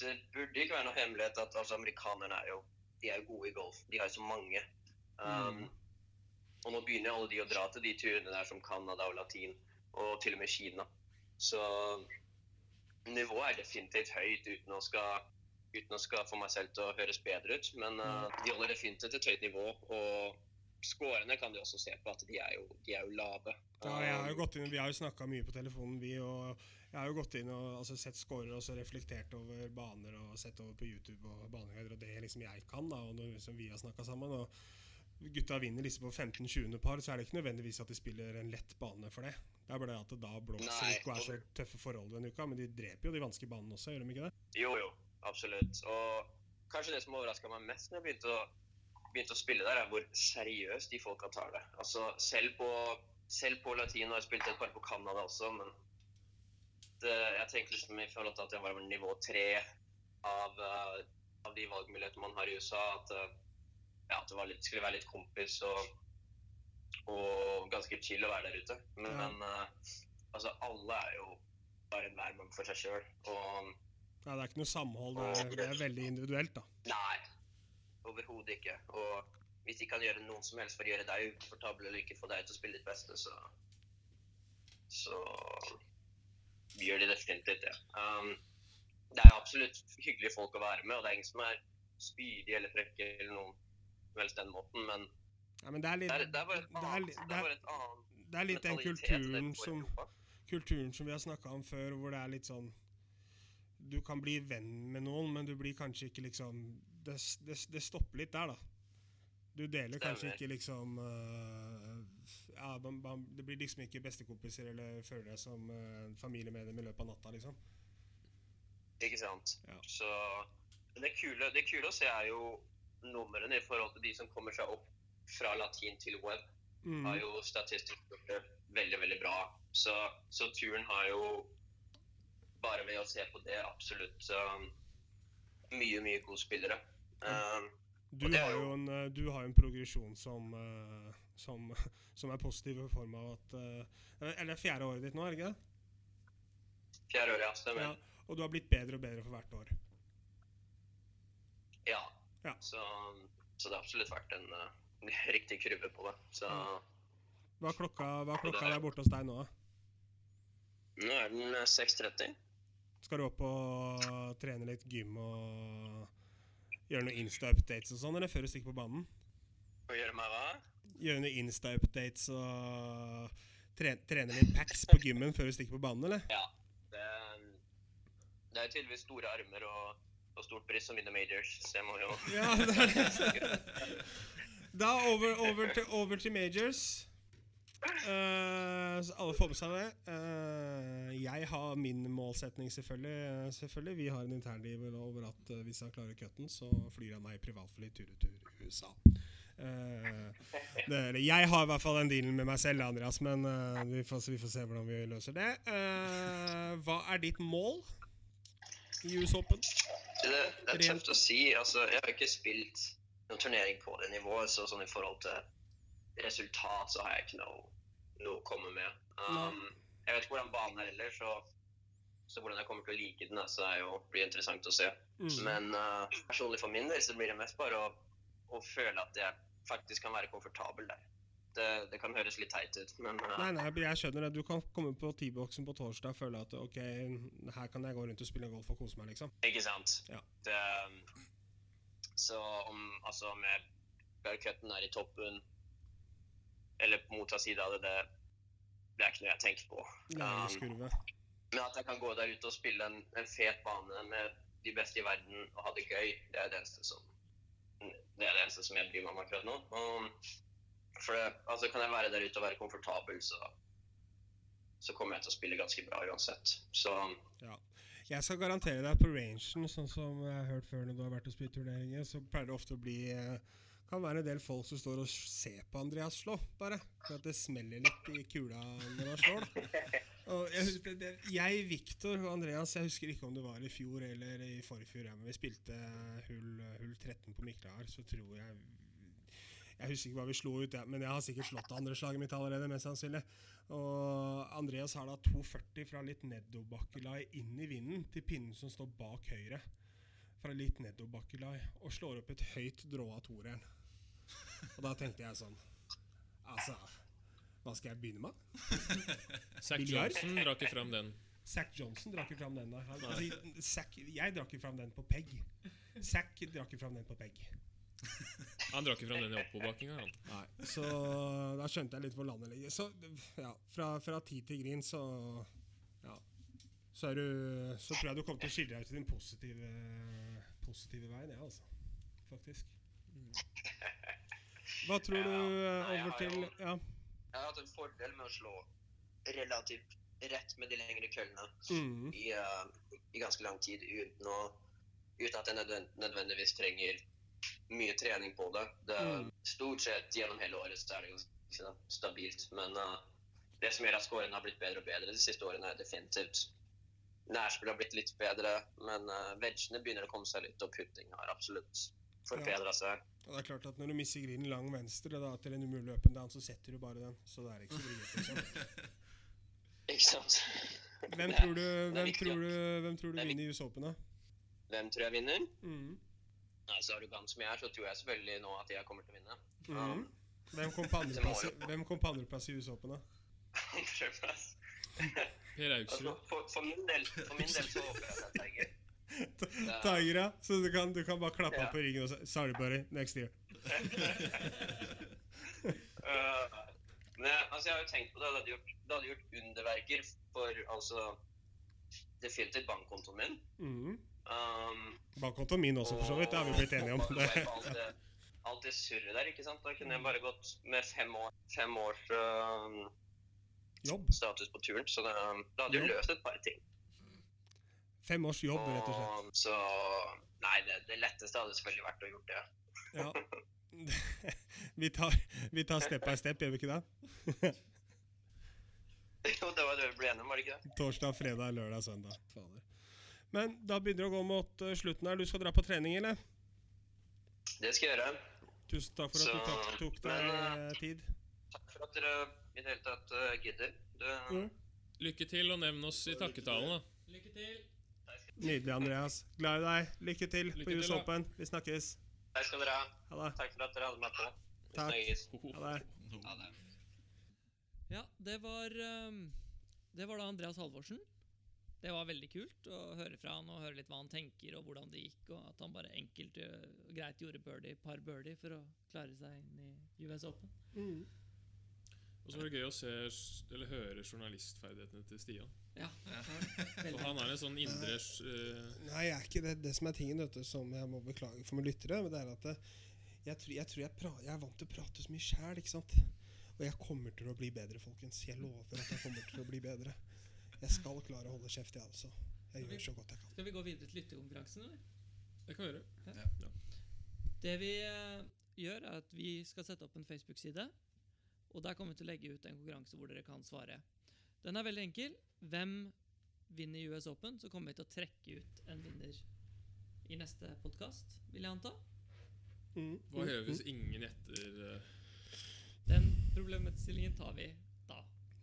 Speaker 5: det burde ikke være noe hemmelighet at altså, amerikanerne er jo de er jo gode i golf. De har jo så mange. Um,
Speaker 2: Mm.
Speaker 5: Og nå begynner alle de å dra til de turene der som Canada og Latin, og til og med Kina. Så nivået er definitivt høyt uten å skal, uten å skal få meg selv til å høres bedre ut. Men eh,
Speaker 2: Mm.
Speaker 5: de holder definitivt et høyt nivå. Og skårene kan du også se på at de er jo, de er jo lave. Um,
Speaker 2: Ja, jeg har jo gått inn, Vi har jo snakka mye på telefonen, vi. og Jeg har jo gått inn og altså, sett scorer og så reflektert over baner og sett over på YouTube og baneguider og det liksom jeg kan, da, og noe som vi har snakka sammen. og Gutta vinner liksom på 15-20. par, så er det ikke nødvendigvis at de spiller en lett bane for det. Det er bare det at det da blåser
Speaker 5: Nei,
Speaker 2: ikke og er så
Speaker 5: og-
Speaker 2: tøffe forhold den uka, men de dreper jo de vanskelige banene også, gjør de ikke det?
Speaker 5: Jo, jo. Absolutt. Og kanskje det som overraska meg mest når jeg begynte å, begynte å spille der, er hvor seriøst de folka tar det. Altså, selv på, selv på latin, og jeg spilte et par på Canada også, men det, jeg tenker liksom i forhold til at jeg var vel nivå tre av, eh, av de valgmulighetene man har i USA, at, eh, ja, at det var litt, skulle være litt kompis og, og ganske chill å være der ute. Men,
Speaker 2: Ja.
Speaker 5: eh, altså, alle er jo bare en mann for seg sjøl. Og
Speaker 2: Nei, Det er ikke noe samhold. Det er, det er veldig individuelt, da.
Speaker 5: Nei, overhodet ikke. Og hvis de kan gjøre noen som helst for å gjøre deg ukomfortabel eller ikke få deg til å spille ditt beste, så så gjør de definitivt det. Um, det er absolutt hyggelige folk å være med, og det er ingen som er spydige eller frekke eller noen som helst den måten, men
Speaker 2: Nei, men det er
Speaker 5: det er,
Speaker 2: litt,
Speaker 5: det er bare et
Speaker 2: Det er
Speaker 5: annet,
Speaker 2: litt-
Speaker 5: det er
Speaker 2: det er-
Speaker 5: bare et annet
Speaker 2: det er litt den
Speaker 5: mentalitet enn det
Speaker 2: kulturen
Speaker 5: vi får i
Speaker 2: som
Speaker 5: Europa.
Speaker 2: kulturen som vi har snakka om før, hvor det er litt sånn Du kan bli venn med noen, men du blir kanskje ikke liksom Det, det, det stopper litt der, da. Du deler kanskje
Speaker 5: Stemmer.
Speaker 2: ikke liksom øh, ja, man, man, Det blir liksom ikke bestekompiser eller føler deg som øh, familiemedlem i løpet av natta, liksom.
Speaker 5: Ikke sant?
Speaker 2: Ja.
Speaker 5: Så men det kule, det kule å se er jo numrene i forhold til de som kommer seg opp fra latin til web.
Speaker 2: Mm.
Speaker 5: Har jo statistisk gjort det veldig, veldig bra. Så, så turen har jo bare ved å se på det absolutt um, mye, mye gode spillere. Um,
Speaker 2: Du
Speaker 5: og det er
Speaker 2: har
Speaker 5: jo-
Speaker 2: jo en, øh, du har jo en progresjon som, øh, som, som er positiv i form av at øh, Eller det er fjerde året ditt nå, er det ikke det?
Speaker 5: fjerde året, ja. Stemmer.
Speaker 2: Ja. Og du har blitt bedre og bedre for hvert år.
Speaker 5: Ja.
Speaker 2: Ja.
Speaker 5: Så, um, så det har absolutt vært en uh, riktig kurve på det. Så
Speaker 2: Ja. Hva er klokka, hva er
Speaker 5: Og det
Speaker 2: klokka
Speaker 5: er-
Speaker 2: der borte hos deg nå? da?
Speaker 5: nå er den eh, 6.30.
Speaker 2: Skal du opp og trene litt gym og gjøre noen Insta-updates og sånn, eller før du stikker på banen?
Speaker 5: Og gjøre meg hva?
Speaker 2: Gjøre noen Insta-updates og tre trene litt packs på gymmen før du stikker på banen, eller?
Speaker 5: Ja. Det, det er tydeligvis store armer og, og stort bryst som vinner majors, så jeg må jo
Speaker 2: Ja, det er det. Da over, over, til, over til majors. Eh, så alle får med seg det. Eh, jeg har min målsetning, selvfølgelig. eh, selvfølgelig. Vi har en internliv over at eh, hvis han klarer cutten, så flyr han meg privatfly tur-retur USA. Eh, det, eller jeg har i hvert fall den dealen med meg selv, Andreas, men eh, vi, får, se- vi får se hvordan vi løser det. Eh, hva er ditt mål i US Open?
Speaker 5: Det, det er
Speaker 2: Rent-
Speaker 5: tøft å si. Altså, jeg har ikke spilt noen turnering på det nivået, så sånn i forhold til resultat så har jeg ikke noe, noe å komme med. Um, jeg vet ikke hvordan banen er ellers, så, så hvordan jeg kommer til å like den, altså, er jo, blir interessant å se.
Speaker 2: Mm.
Speaker 5: Men eh, personlig for min del så blir det mest bare å, å føle at jeg faktisk kan være komfortabel der. Det, det kan høres litt teit ut, men eh,
Speaker 2: Nei, nei, men jeg skjønner det. Du kan komme på T-boksen på torsdag og føle at ok, her kan jeg gå rundt og spille golf og kose meg, liksom.
Speaker 5: Ikke sant?
Speaker 2: Ja.
Speaker 5: Det, um, så om, altså om jeg Cutten er i toppen, eller på motsatt side av det, det, det er ikke noe jeg tenker på. Um,
Speaker 2: Læringskurve.
Speaker 5: men at jeg kan gå der ute og spille en, en fet bane med de beste i verden og ha det gøy, det er det eneste som, det er det eneste som jeg bryr meg om akkurat nå. Og for det, altså kan jeg være der ute og være komfortabel, så, så kommer jeg til å spille ganske bra uansett. Så
Speaker 2: Jeg skal garantere deg på rangen, sånn som jeg har hørt før når du har vært og spilt turneringer, så pleier det ofte å bli eh, kan være en del folk som står og ser på Andreas slå, bare. For at det smeller litt i kula når han slår, da. Og jeg, husker, det, jeg, Victor og Andreas, jeg husker ikke om det var i fjor eller i forfjor, ja, men vi spilte hull, hull 13 på Mikla her, så tror jeg Jeg husker ikke hva vi slo ut, ja, men jeg har sikkert slått det andre slaget mitt allerede, mest sannsynlig. Og Andreas har da 2,40 fra litt nedoverbakkelai inn i vinden til pinnen som står bak høyre. Fra litt nedoverbakkelai og slår opp et høyt drå av toeren. Og da tenkte jeg sånn Altså, hva skal jeg begynne med?
Speaker 3: Zack
Speaker 2: Biljard?
Speaker 3: Johnson drar ikke fram den.
Speaker 2: Zack Johnson drar ikke fram den. da. Han, altså, Zack, jeg drar ikke fram den på peg. Zack drar ikke fram den på peg.
Speaker 3: Han drar ikke fram den i oppoverbakkinga, han.
Speaker 2: Nei, Så da skjønte jeg litt hvor landet ligger. Så ja, fra, fra tid til grin, så Ja. Så, er du, så tror jeg du kommer til å skille deg ut i den positive, positive veien, jeg, altså. Faktisk. Hva tror du
Speaker 5: Mm. Ja,
Speaker 2: eh,
Speaker 5: nei, jeg
Speaker 2: over
Speaker 5: har
Speaker 2: til
Speaker 5: jo-
Speaker 2: Ja.
Speaker 5: Jeg har hatt en fordel med å slå relativt rett med de lengre køllene
Speaker 2: Mm,
Speaker 5: i, eh, i ganske lang tid uten, å, uten at jeg nødven- nødvendigvis trenger mye trening på det. det er
Speaker 2: Mm.
Speaker 5: Stort sett gjennom hele året så er det ganske stabilt. Men eh, det som gjør at scorene har blitt bedre og bedre de siste årene, er definitivt Nærspill har blitt litt bedre, men uh, vegene begynner å komme seg litt, og putting har absolutt forbedra seg.
Speaker 2: og det er klart at Når du mister grinen lang venstre da, til en umulig open down, så setter du bare den. Så det er ikke så vrient. liksom.
Speaker 5: Ikke sant?
Speaker 2: Hvem
Speaker 5: Det er-
Speaker 2: tror du,
Speaker 5: det er
Speaker 2: hvem
Speaker 5: viktig,
Speaker 2: tror du,
Speaker 5: ja.
Speaker 2: hvem tror du
Speaker 5: Det er
Speaker 2: vinner US Open, da?
Speaker 5: Hvem tror jeg vinner?
Speaker 2: Mm.
Speaker 5: Nei, så arrogant som jeg er, så tror jeg selvfølgelig nå at jeg kommer til å vinne.
Speaker 2: Mm. Hvem kom på andreplass i- hvem kom på andreplass i US Open, da?
Speaker 5: Um, prøvplass.
Speaker 3: Per
Speaker 5: altså,
Speaker 3: Augsrud.
Speaker 5: for, for, min del, for min del så håper jeg at det er gøy.
Speaker 2: Tiger, ja. Så du kan, du kan bare klappe
Speaker 5: Ja.
Speaker 2: han på ryggen og si 'sorry, buddy, next year'.
Speaker 5: Uh, men jeg- altså, jeg har jo tenkt på det. Det hadde gjort, det hadde gjort underverker for altså definitivt bankkontoen min.
Speaker 2: Mm.
Speaker 5: Um,
Speaker 2: Bankkontoen min også, for så vidt. Det har vi blitt enige om.
Speaker 5: og-
Speaker 2: Det.
Speaker 5: og Alt det, alt det surret der, ikke sant. Da kunne jeg bare gått med fem, år, fem års um,
Speaker 2: Jobb.
Speaker 5: status på turen. Så det, um, det hadde jo
Speaker 2: Ja.
Speaker 5: løst et par ting.
Speaker 2: Fem års jobb, rett og slett.
Speaker 5: Og Så Nei, det, det letteste hadde selvfølgelig vært å gjort det.
Speaker 2: Ja. Vi tar, vi tar step by step, gjør vi ikke det?
Speaker 5: Jo, det var det vi ble enige om, var det ikke det?
Speaker 2: Torsdag, fredag, lørdag, søndag. Fader. Men da begynner det å gå mot eh, slutten her. Du skal dra på trening, eller?
Speaker 5: Det skal jeg gjøre.
Speaker 2: Tusen takk for at du tok,
Speaker 5: Så-
Speaker 2: tok deg eh, tid.
Speaker 5: Takk for at dere i det hele tatt eh, gidder. Det,
Speaker 2: Jo.
Speaker 3: Lykke til, og nevn oss i takketalen, da.
Speaker 1: Lykke til.
Speaker 2: Nydelig, Andreas. Glad i deg. Lykke til
Speaker 3: Lykke
Speaker 2: på
Speaker 3: til,
Speaker 2: US
Speaker 3: da.
Speaker 2: Open. Vi snakkes.
Speaker 5: Takk skal dere ha.
Speaker 2: Ha det.
Speaker 5: Takk for at dere hadde meg på. Vi
Speaker 2: Takk.
Speaker 5: snakkes.
Speaker 2: Ha det.
Speaker 4: Ja, det er-
Speaker 1: Ja, det var ehm, Det var da Andreas Halvorsen. Det var veldig kult å høre fra han og høre litt hva han tenker og hvordan det gikk, og at han bare enkelt ø, og greit gjorde birdie, par birdie for å klare seg inn i US Open.
Speaker 3: Og så var det gøy å se, eller høre journalistferdighetene til Stian.
Speaker 1: Ja,
Speaker 3: For han er en sånn indre eh,
Speaker 2: Nei, jeg er ikke det. Det som er tingen, vet du, som jeg må beklage for mine lyttere, men det er at det, jeg, tror, jeg, tror jeg, pra, jeg er vant til å prate så mye sjæl, ikke sant? Og jeg kommer til å bli bedre, folkens. Jeg lover at jeg kommer til å bli bedre. Jeg skal klare å holde kjeft, jeg også. Jeg gjør så godt jeg kan.
Speaker 1: Skal vi gå videre til lyttekonkurransen, eller?
Speaker 3: Det kan vi gjøre.
Speaker 1: Det vi eh, gjør, er at vi skal sette opp en Facebook-side. Og der kommer vi til å legge ut en konkurranse hvor dere kan svare. Den er veldig enkel. Hvem vinner US Open? Så kommer vi til å trekke ut en vinner i neste podkast, vil jeg anta.
Speaker 3: Hva gjør vi hvis ingen gjetter eh,
Speaker 1: Den problemstillingen tar vi da.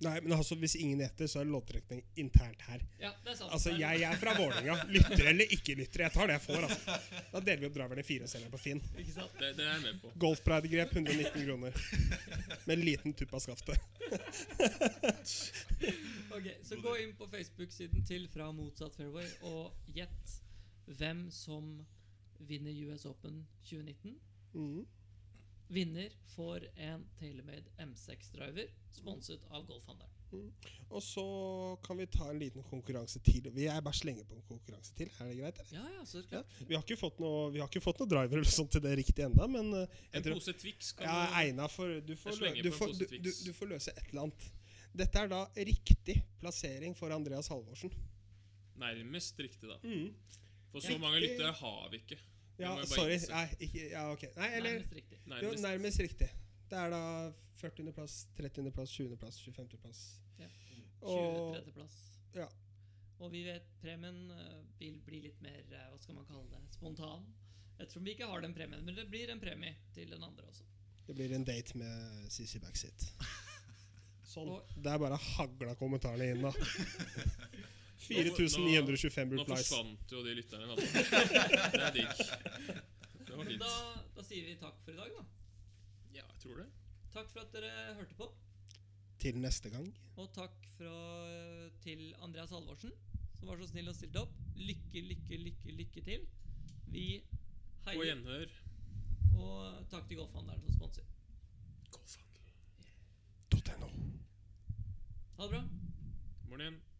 Speaker 2: Nei, men altså, Hvis ingen gjetter, så er det låttrekning internt her.
Speaker 1: Ja, det er sant.
Speaker 2: Altså,
Speaker 1: Det er-
Speaker 2: Jeg, jeg er fra Vålerenga. Lytter eller ikke lytter. Jeg tar det jeg får. altså. Da deler vi opp draverne i fire og selger den på Finn.
Speaker 1: Ikke sant?
Speaker 3: Det, det er jeg med på.
Speaker 2: Golfbreidegrep 119 kroner. Med en liten tupp av skaftet.
Speaker 1: Ok, Så gå inn på Facebook-siden til Fra motsatt fairway og gjett hvem som vinner US Open 2019.
Speaker 2: Mm.
Speaker 1: Vinner får en Tailormade M6-driver sponset av Golfhandelen.
Speaker 2: Og så kan vi ta en liten konkurranse til. Vi er bare slenger på en konkurranse til. Er det greit? eller?
Speaker 1: Ja, ja, så klart.
Speaker 2: Vi har ikke fått noe, vi har ikke fått noe driver eller sånt til det riktig enda, men eh, jeg
Speaker 3: En
Speaker 2: tror-
Speaker 3: pose Twix kan
Speaker 2: ja,
Speaker 3: du-
Speaker 2: Einar får, du, får
Speaker 3: Jeg
Speaker 2: lø,
Speaker 3: slenger
Speaker 2: du,
Speaker 3: på en
Speaker 2: får, du,
Speaker 3: pose
Speaker 2: du,
Speaker 3: Twix.
Speaker 2: du får løse et eller annet. Dette er da riktig plassering for Andreas Halvorsen.
Speaker 3: Nærmest riktig, da.
Speaker 2: Mm.
Speaker 3: For så mange lyttere har vi ikke.
Speaker 2: Ja,
Speaker 3: må jeg bare
Speaker 2: sorry.
Speaker 3: innse.
Speaker 2: Nei, ikke, ja, ok. Nei, eller
Speaker 1: Nærmest riktig.
Speaker 2: jo,
Speaker 3: Nærmest.
Speaker 2: nærmest riktig. Det er da 40. plass, 30. plass, 20. plass, 25. plass.
Speaker 1: Ja.
Speaker 2: Og
Speaker 1: 23.-plass.
Speaker 2: ja.
Speaker 1: Og vi vet premien eh, vil bli litt mer eh, hva skal man kalle det, spontan. Ettersom vi ikke har den premien, men det blir en premie til den andre også.
Speaker 2: det blir en date med CC Backseat. Sånn.
Speaker 1: Og-
Speaker 2: Det er bare hagla kommentarene inn, da. 4925
Speaker 3: Nå
Speaker 2: replies.
Speaker 3: forsvant jo de lytterne. da. Det er digg. Det var
Speaker 1: Men da,
Speaker 3: fint.
Speaker 1: da sier vi takk for i dag, da.
Speaker 3: Ja, jeg tror det.
Speaker 1: Takk for at dere hørte på.
Speaker 2: Til neste gang.
Speaker 1: Og takk fra, til Andreas Halvorsen, som var så snill og stilte opp. Lykke, lykke, lykke, lykke til. Vi
Speaker 3: På
Speaker 1: heier.
Speaker 3: gjenhør.
Speaker 1: Og, takk til Golfhandleren som sponser.
Speaker 3: Golfhandel.
Speaker 2: .no.
Speaker 1: Ha det bra.
Speaker 3: Morgen igjen.